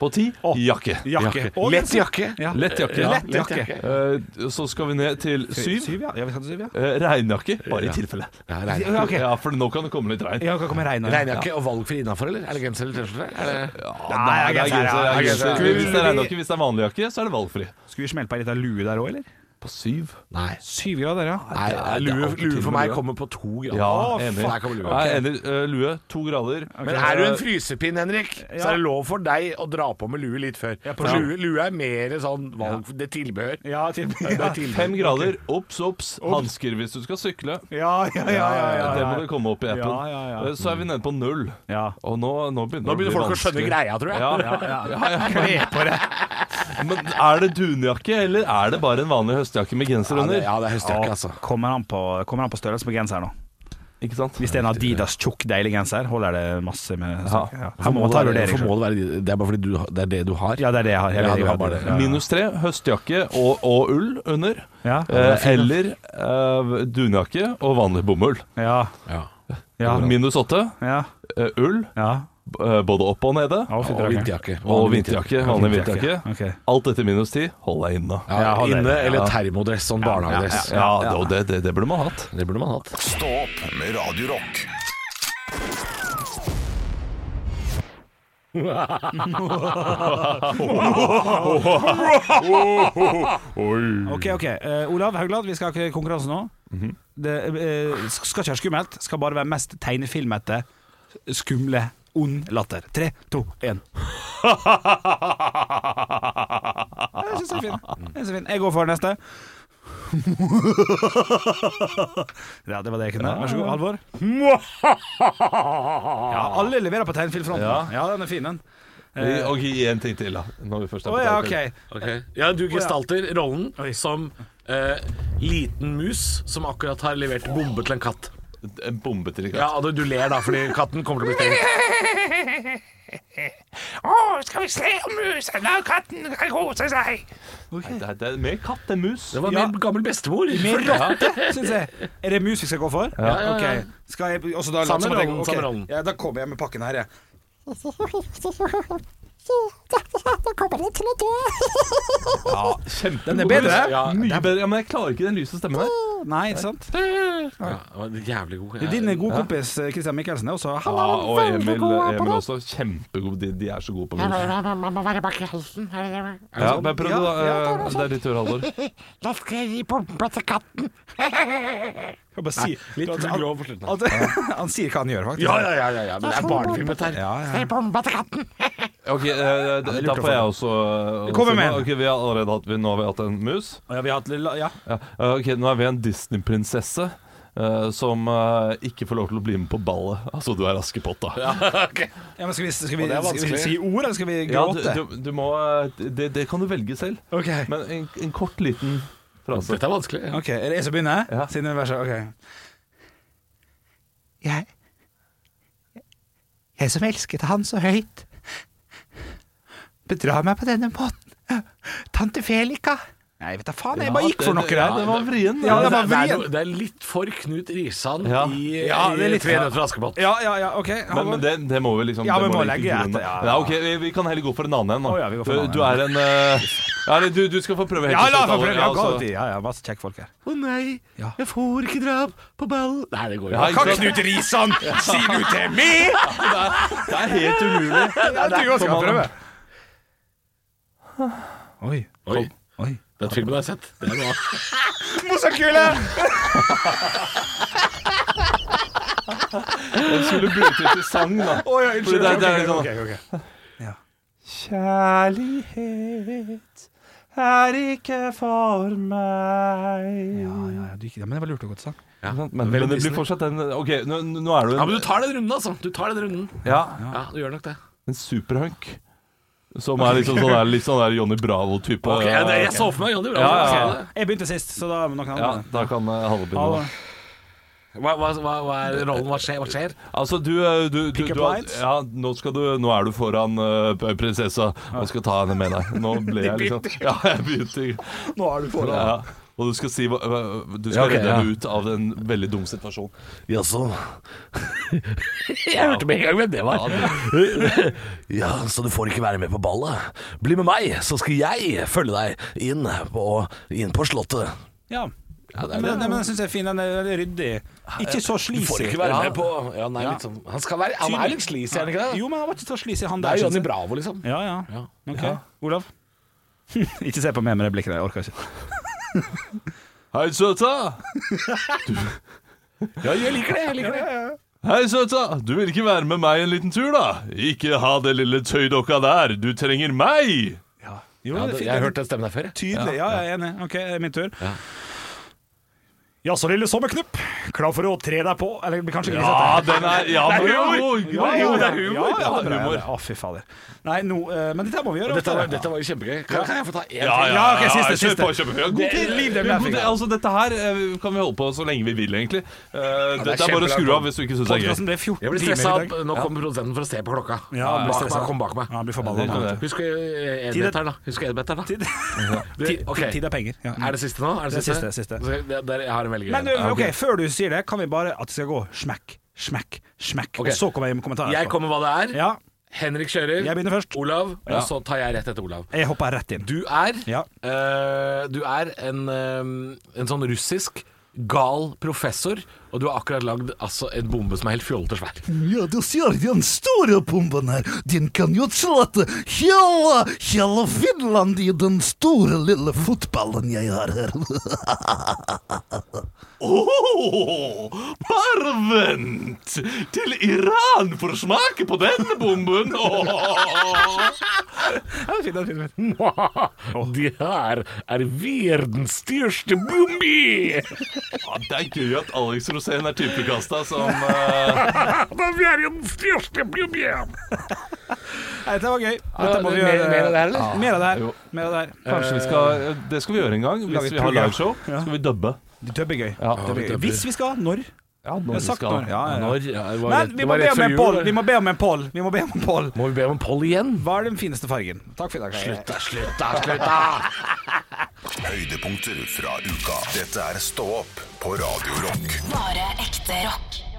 Speaker 5: På 10
Speaker 4: Å.
Speaker 5: jakke.
Speaker 4: Jakke. Og
Speaker 3: Lett jakke.
Speaker 4: Ja.
Speaker 5: Lett jakke.
Speaker 4: Lett jakke.
Speaker 5: Eh, så skal vi ned til 7.
Speaker 4: Syv, ja. ja. Vi skal til syv, ja.
Speaker 5: regnjakke, bare i tilfelle.
Speaker 3: Ja, regn-
Speaker 4: Ja, ok.
Speaker 5: Ja, for nå kan det komme litt regn.
Speaker 4: Ja, kan komme regn.
Speaker 3: Regnjakke og valgfri innafor, eller? Er det genser eller T-skjorte? Er det-
Speaker 4: Nei,
Speaker 5: det er
Speaker 4: genser,
Speaker 5: genser, det er
Speaker 4: ja.
Speaker 5: genser.
Speaker 4: Skulle
Speaker 5: Hvis det er regnjakke, hvis det er vanlig jakke, så er det valgfri.
Speaker 4: Skal vi smelte på ei lita lue der òg, eller?
Speaker 5: På 7.
Speaker 3: Nei.
Speaker 4: Syv grader, ja.
Speaker 3: Nei,
Speaker 5: det er
Speaker 3: lue, lue
Speaker 5: alltid
Speaker 3: for
Speaker 5: til med
Speaker 3: meg
Speaker 5: lue.
Speaker 3: kommer på to grader.
Speaker 5: Ja,
Speaker 3: Å,
Speaker 5: enig.
Speaker 3: faen, her kommer lue.
Speaker 5: Nei, enig. Eh, lue, to grader.
Speaker 3: Men er du en frysepinn, Henrik, så er det lov for deg å dra på med lue litt før.
Speaker 4: på
Speaker 3: For lue, lue er mer sånn valg... Det er tilbehør.
Speaker 4: Ja, til, ja.
Speaker 5: Fem grader. Obs, obs. Hansker hvis du skal sykle. Eh,
Speaker 4: Ja, ja, ja, ja, ja,
Speaker 5: Det må
Speaker 4: ja.
Speaker 5: det komme opp i appen.
Speaker 4: Ja, ja, ja.
Speaker 5: Eh, Så er vi nede på null.
Speaker 4: ja.
Speaker 5: Og nå, nå begynner
Speaker 3: Nå begynner folk å skjønne
Speaker 5: vanskelig.
Speaker 3: greia, tror jeg.
Speaker 5: Ja, ja, ja. Men er det dunjakke, eller er det bare en vanlig høstjakke med genser
Speaker 3: Ja, det,
Speaker 5: under?
Speaker 3: ja, det er høstjakke, altså.
Speaker 4: Kommer han på, kommer an på størrelsen på genseren nå?
Speaker 5: Ikke sant?
Speaker 4: Hvis det er en Adidas tjukk, deilig genser, holder det masse med
Speaker 5: Ja.
Speaker 4: ja. Så må man ta rullering.
Speaker 3: Hvorfor må det, være, det er bare fordi du, har- det er det du har.
Speaker 4: Ja, det er det jeg har.
Speaker 3: Ja,
Speaker 4: Jeg
Speaker 3: du
Speaker 4: vet ikke
Speaker 3: har
Speaker 4: hva
Speaker 3: bare
Speaker 4: det-
Speaker 3: det.
Speaker 4: ja.
Speaker 5: Minus tre, høstjakke og, og ull under.
Speaker 4: Ja.
Speaker 5: Eh, eller eh, dunjakke og vanlig bomull.
Speaker 4: Ja.
Speaker 3: Ja.
Speaker 4: Ja.
Speaker 5: Minus åtte,
Speaker 4: Ja.
Speaker 5: eh, ull
Speaker 4: ja.
Speaker 5: b- eh, både opp og nede.
Speaker 4: Ja, fint,
Speaker 3: Og
Speaker 4: Rakel.
Speaker 3: vinterjakke.
Speaker 5: Og vinterjakke, vanlig vinterjakke.
Speaker 4: Ok.
Speaker 5: Alt etter minus ti holder jeg inne.
Speaker 3: Ja,
Speaker 4: Ja, det er
Speaker 3: inne
Speaker 4: det.
Speaker 3: eller termodress, sånn barnehagedress.
Speaker 5: Ja, det, og det, det, det burde man hatt.
Speaker 3: Det burde man hatt.
Speaker 1: Stå opp med Radio Rock.
Speaker 4: Ok, ok. Eh, Olav Haugland, vi skal ha konkurranse nå. Det eh, skal ikke være skummelt, skal bare være mest tegnefilmete, skumle, ond latter. Tre, to, én. Jeg syns den er fin. Jeg synes den er fin. Jeg går for neste. Ja, det var det jeg kunne. Vær så god, Halvor. Ja, alle leverer på tegnefilmfronten.
Speaker 5: Ja.
Speaker 4: Ja, den er fin, den.
Speaker 5: Eh, Ok, én ting til, da. Når vi først
Speaker 4: Å
Speaker 5: er på
Speaker 4: ja,
Speaker 5: taket.
Speaker 4: OK.
Speaker 3: Ja, du gestalter rollen
Speaker 4: Oi.
Speaker 3: som eh, liten mus som akkurat har levert bombe til en katt.
Speaker 5: En bombe til i gang.
Speaker 3: Ja, og du ler da fordi katten kommer til å bli stengt.
Speaker 5: Nei, Det, er- det er mer katt enn mus.
Speaker 3: Det var
Speaker 4: Ja.
Speaker 3: mer gammel bestemor.
Speaker 4: Med rotte, syns jeg. Er det mus vi skal gå for? Ja,
Speaker 3: ja, ja.
Speaker 4: Skal jeg, og så da,
Speaker 3: Samme
Speaker 4: så må jeg-
Speaker 3: rollen,
Speaker 4: ok.
Speaker 3: samme rollen.
Speaker 4: Ja, da kommer jeg med pakken her, jeg.
Speaker 5: Kjempegod
Speaker 4: Den er bedre.
Speaker 5: mus. Ja,
Speaker 3: Ja.
Speaker 5: mye bedre. Ja, men jeg klarer ikke den lyse stemmen der.
Speaker 4: Nei, ikke sant?
Speaker 3: Ja, det var jævlig god.
Speaker 4: Din gode kompis eh, Christian Michelsen er også
Speaker 5: Ja, og Emil, Emil også. Kjempegod. De, de er så gode på mus.
Speaker 7: Man må være bak i halsen. er det det man-
Speaker 5: Ja, men prøv,
Speaker 4: Ja,
Speaker 5: da.
Speaker 4: ja,
Speaker 5: eh, det er ditt tur, Halvor.
Speaker 7: Da skal jeg gi bomba til katten.
Speaker 4: Jeg bare sier-
Speaker 3: litt
Speaker 4: han-
Speaker 3: grov på slutten.
Speaker 4: han- Han sier hva han gjør, faktisk.
Speaker 3: Ja, ja, ja, ja, ja, men det er barnefilm, dette her.
Speaker 4: Ja, ja.
Speaker 7: Skal jeg bomba til katten?
Speaker 5: Ok, eh, da da får jeg også eh,
Speaker 4: Kommer
Speaker 5: si
Speaker 4: med
Speaker 5: noe.
Speaker 4: en.
Speaker 5: Ok, vi har allerede hatt, vi, Nå har vi hatt en mus.
Speaker 4: Ja, vi har hatt lilla- ja.
Speaker 5: Ja, eh, ok, Nå er vi en Disney-prinsesse eh, som eh, ikke får lov til å bli med på ballet. Altså, du er Askepott, da. Ja,
Speaker 4: ja, men skal vi, skal vi,
Speaker 3: det er
Speaker 4: skal vi
Speaker 3: vanskelig.
Speaker 4: si ord, eller skal vi
Speaker 5: du,
Speaker 4: gråte?
Speaker 5: du, du må eh, det, det kan du velge selv.
Speaker 4: Ok,
Speaker 5: Men en, en kort, liten frase.
Speaker 3: Dette er vanskelig.
Speaker 4: Ok, er det jeg som begynner?
Speaker 5: Ja.
Speaker 4: Siden det er verset, ok.
Speaker 8: Jeg Jeg som elsket han så høyt Bedrar meg på denne måten Tante Felika
Speaker 4: Nei, vet da faen, jeg bare gikk for noe
Speaker 5: Ja,
Speaker 4: der.
Speaker 5: den var vrien.
Speaker 4: Ja, det var
Speaker 3: det, er,
Speaker 4: vrien.
Speaker 3: no- det er litt for Knut Risan
Speaker 5: Ja.
Speaker 3: i,
Speaker 4: Ja, det er
Speaker 3: i
Speaker 4: litt-
Speaker 3: Tre nøtter til Askepott.
Speaker 4: Ja, ja, ja, ok.
Speaker 5: Men, men det, det må vi liksom
Speaker 4: Ja, vi
Speaker 5: det
Speaker 4: må
Speaker 5: ligge
Speaker 4: legge
Speaker 5: til grunn,
Speaker 4: etter,
Speaker 5: da.
Speaker 4: ja,
Speaker 5: Ja,
Speaker 4: ja.
Speaker 5: ok, vi, vi kan heller gå for en annen en, da.
Speaker 4: Å, ja, vi går for en
Speaker 5: du, du er en eh, Ja, eller du, du skal få prøve helt
Speaker 4: Ja,
Speaker 5: til
Speaker 4: la
Speaker 5: slutt,
Speaker 4: meg prøve!
Speaker 5: Alvar.
Speaker 4: Ja,
Speaker 5: altså.
Speaker 4: altså. ja, ja, masse kjekke folk her.
Speaker 3: Å nei, jeg får ikke dra på ball Nei, det går jo ikke.
Speaker 5: Ja, ikke
Speaker 4: Kan
Speaker 5: sant?
Speaker 4: Knut Risan si noe til meg?!
Speaker 5: Det er helt umulig.
Speaker 4: Ja, du også skal prøve. Oi.
Speaker 3: Oi,
Speaker 4: Oi.
Speaker 3: den filmen har jeg sett. Det er bra.
Speaker 4: Motorkule!
Speaker 5: Jeg skulle brukt ut til sang, da.
Speaker 4: Oi, oi,
Speaker 5: Fordi
Speaker 4: unnskyld.
Speaker 5: det er- det er
Speaker 4: Ok,
Speaker 5: sånn-
Speaker 4: ok, ok, ok.
Speaker 5: Kjærlighet er ikke for meg
Speaker 4: Ja, ja, ja, du gikk- ja, men det var lurt og godt sagt.
Speaker 5: Men, men, det blir fortsatt den OK, nå, nå er du
Speaker 3: Ja, men
Speaker 5: en,
Speaker 3: du tar den runden, altså. Du tar den runden.
Speaker 5: ja,
Speaker 3: Ja, du gjør nok det.
Speaker 5: en superhunk. Som er liksom sånn der, litt sånn der Johnny Bravo-type.
Speaker 3: Ok, jeg, jeg så for meg Johnny Bravo.
Speaker 5: Ja, ja,
Speaker 3: Ok,
Speaker 4: Jeg begynte sist, så da må noen
Speaker 5: Ja,
Speaker 4: andre.
Speaker 5: da kan eh, Halle
Speaker 4: Ha
Speaker 5: begynne.
Speaker 4: det.
Speaker 3: det. Hva, hva, hva, hva er rollen? Hva skjer? Hva skjer?
Speaker 5: Altså, du, eh, du, du,
Speaker 4: Pick up
Speaker 5: du har-
Speaker 4: lines?
Speaker 5: ja, nå, skal du, nå er du foran eh, prinsessa og skal ta henne med deg. Nå ble jeg liksom Ja, jeg begynte.
Speaker 4: Nå er du foran.
Speaker 5: Ja. Og du skal si hva- hva- Du skal
Speaker 3: Ja, ok,
Speaker 5: redde
Speaker 3: ja.
Speaker 5: henne ut av en veldig dum situasjon.
Speaker 9: Jaså?
Speaker 3: Jeg hørte med en gang hvem det var.
Speaker 9: Ja, så du får ikke være med på ballet? Bli med meg, så skal jeg følge deg inn på, inn på slottet.
Speaker 4: Ja. men, nei, men den syns jeg er fin. Den er veldig ryddig. Ikke så
Speaker 3: Du får
Speaker 4: sleazy.
Speaker 3: ikke være
Speaker 4: Ja.
Speaker 3: med på Ja, nei,
Speaker 4: Ja.
Speaker 3: litt sånn Han, skal være, han er litt sleazy, er han ikke det?
Speaker 4: Jo, men han var ikke så sleazy, han
Speaker 3: Det
Speaker 4: der.
Speaker 3: er
Speaker 4: synes
Speaker 3: Johnny
Speaker 4: jeg.
Speaker 3: Bravo, liksom.
Speaker 4: Ja, ja.
Speaker 3: Ja.
Speaker 4: Ok. Olav? ikke se på meg med det blikket der, jeg orker ikke.
Speaker 5: Hei, søta!
Speaker 3: Ja, jeg liker det. jeg liker det
Speaker 5: Hei, søta! Du vil ikke være med meg en liten tur, da? Ikke ha det lille tøydokka der, du trenger meg!
Speaker 3: Ja,
Speaker 4: Jo, det er
Speaker 3: det-
Speaker 4: fint.
Speaker 3: Jeg har hørt den stemmen der før. jeg.
Speaker 4: Tydelig. Ja, jeg er enig. Ok, det er min tur. Jaså, lille sommerknupp. Klar for å tre deg på? Eller kanskje ikke sette
Speaker 5: Ja, den er Ja, men god, god, god, det er humor!
Speaker 4: Ja, ja,
Speaker 5: Ja,
Speaker 4: det er
Speaker 5: humor.
Speaker 4: det. Å, fy fader. Nei, nå, eh, men dette her må vi gjøre.
Speaker 3: Dette var,
Speaker 4: oftere.
Speaker 3: dette var jo kjempegøy. Kan, kan jeg få ta én
Speaker 5: Ja,
Speaker 3: til?
Speaker 5: ja,
Speaker 4: Ja, ok,
Speaker 5: ja,
Speaker 4: siste,
Speaker 5: kjør
Speaker 4: siste.
Speaker 5: på, kjør på. Vi har god
Speaker 4: Det-
Speaker 5: tid.
Speaker 4: liv dem
Speaker 5: Vi har god
Speaker 4: der,
Speaker 5: tid. Altså, dette her eh, kan vi holde på så lenge vi vil, egentlig. Eh,
Speaker 3: det er
Speaker 5: dette er bare å
Speaker 3: kjempelang
Speaker 5: skru av
Speaker 3: pod.
Speaker 5: hvis du ikke syns det er
Speaker 4: Podcasten
Speaker 5: gøy.
Speaker 4: ble 14
Speaker 3: Jeg blir
Speaker 4: timer
Speaker 3: stressa
Speaker 4: i
Speaker 3: opp.
Speaker 4: dag.
Speaker 3: Nå kommer produsenten for å se på klokka.
Speaker 4: Ja, han blir
Speaker 3: bak
Speaker 4: stressa.
Speaker 3: meg, kom bak meg.
Speaker 4: Ja, han blir
Speaker 5: Det er
Speaker 4: forbanna.
Speaker 5: det.
Speaker 3: Husk eh, enmeteren, da. Husk enmeteren, da.
Speaker 4: Tid,
Speaker 3: Det- ok.
Speaker 4: tid er penger. Ja.
Speaker 3: Er det siste nå? Er det
Speaker 4: Det er
Speaker 3: siste?
Speaker 4: siste, siste.
Speaker 3: Så det- der- Jeg har en veldig gøy
Speaker 4: Men
Speaker 3: en.
Speaker 4: du, ok, før du sier det, kan vi bare at det skal gå smekk, smekk, smekk.
Speaker 3: Ok.
Speaker 4: Og så kommer jeg med kommentarer.
Speaker 3: Jeg kommer hva det er.
Speaker 4: Ja,
Speaker 3: Henrik kjører.
Speaker 4: jeg begynner først.
Speaker 3: Olav. Og så tar jeg rett etter Olav.
Speaker 4: Jeg hopper rett inn.
Speaker 3: Du er
Speaker 4: Ja.
Speaker 3: eh, Du er en, eh, en sånn russisk gal professor, og du har akkurat lagd altså, en bombe som er helt fjollete svær.
Speaker 10: Ja, du ser den store bomben her. Den kan jo slette hele, hele Finland i den store lille fotballen jeg har her.
Speaker 5: Åh, bare vent til Iran får smake på denne bomben!
Speaker 3: Det her er verdens største bombe!
Speaker 5: Ja, det er gøy at Alex Rosén er typekasta som eh,
Speaker 3: Det er verdens største bombe!
Speaker 4: Nei, Dette var gøy.
Speaker 3: Ja,
Speaker 4: Dette må vi
Speaker 3: mer-
Speaker 4: gjøre.
Speaker 3: mer av det her, eller? Eh,
Speaker 4: Mer av det her.
Speaker 5: Jo.
Speaker 4: Mer av det her.
Speaker 5: Kanskje vi skal eh, Det skal vi gjøre en gang.
Speaker 4: Lage
Speaker 5: Hvis
Speaker 4: et
Speaker 5: vi har
Speaker 4: program.
Speaker 5: liveshow,
Speaker 4: Ja.
Speaker 5: skal vi dubbe.
Speaker 4: Det tør bli gøy.
Speaker 5: Ja.
Speaker 4: Det blir gøy. Hvis vi skal. Når?
Speaker 5: Ja,
Speaker 4: Jeg
Speaker 5: når
Speaker 4: har sagt når. Ja, ja, ja.
Speaker 3: Når, ja, det var
Speaker 4: Men
Speaker 3: rett-
Speaker 4: vi
Speaker 3: det
Speaker 4: må
Speaker 3: var
Speaker 4: be
Speaker 3: rett
Speaker 4: om
Speaker 3: før
Speaker 4: en
Speaker 3: jul,
Speaker 4: poll.
Speaker 3: eller?
Speaker 4: Vi må be om en poll. Vi må be om en poll.
Speaker 3: Må vi be om en poll igjen?
Speaker 4: Hva er den fineste fargen? Takk for i dag.
Speaker 3: Slutt da, slutt da, slutt da!
Speaker 1: Høydepunkter fra uka. Dette er Stå opp på Radio Rock.
Speaker 2: Bare ekte rock.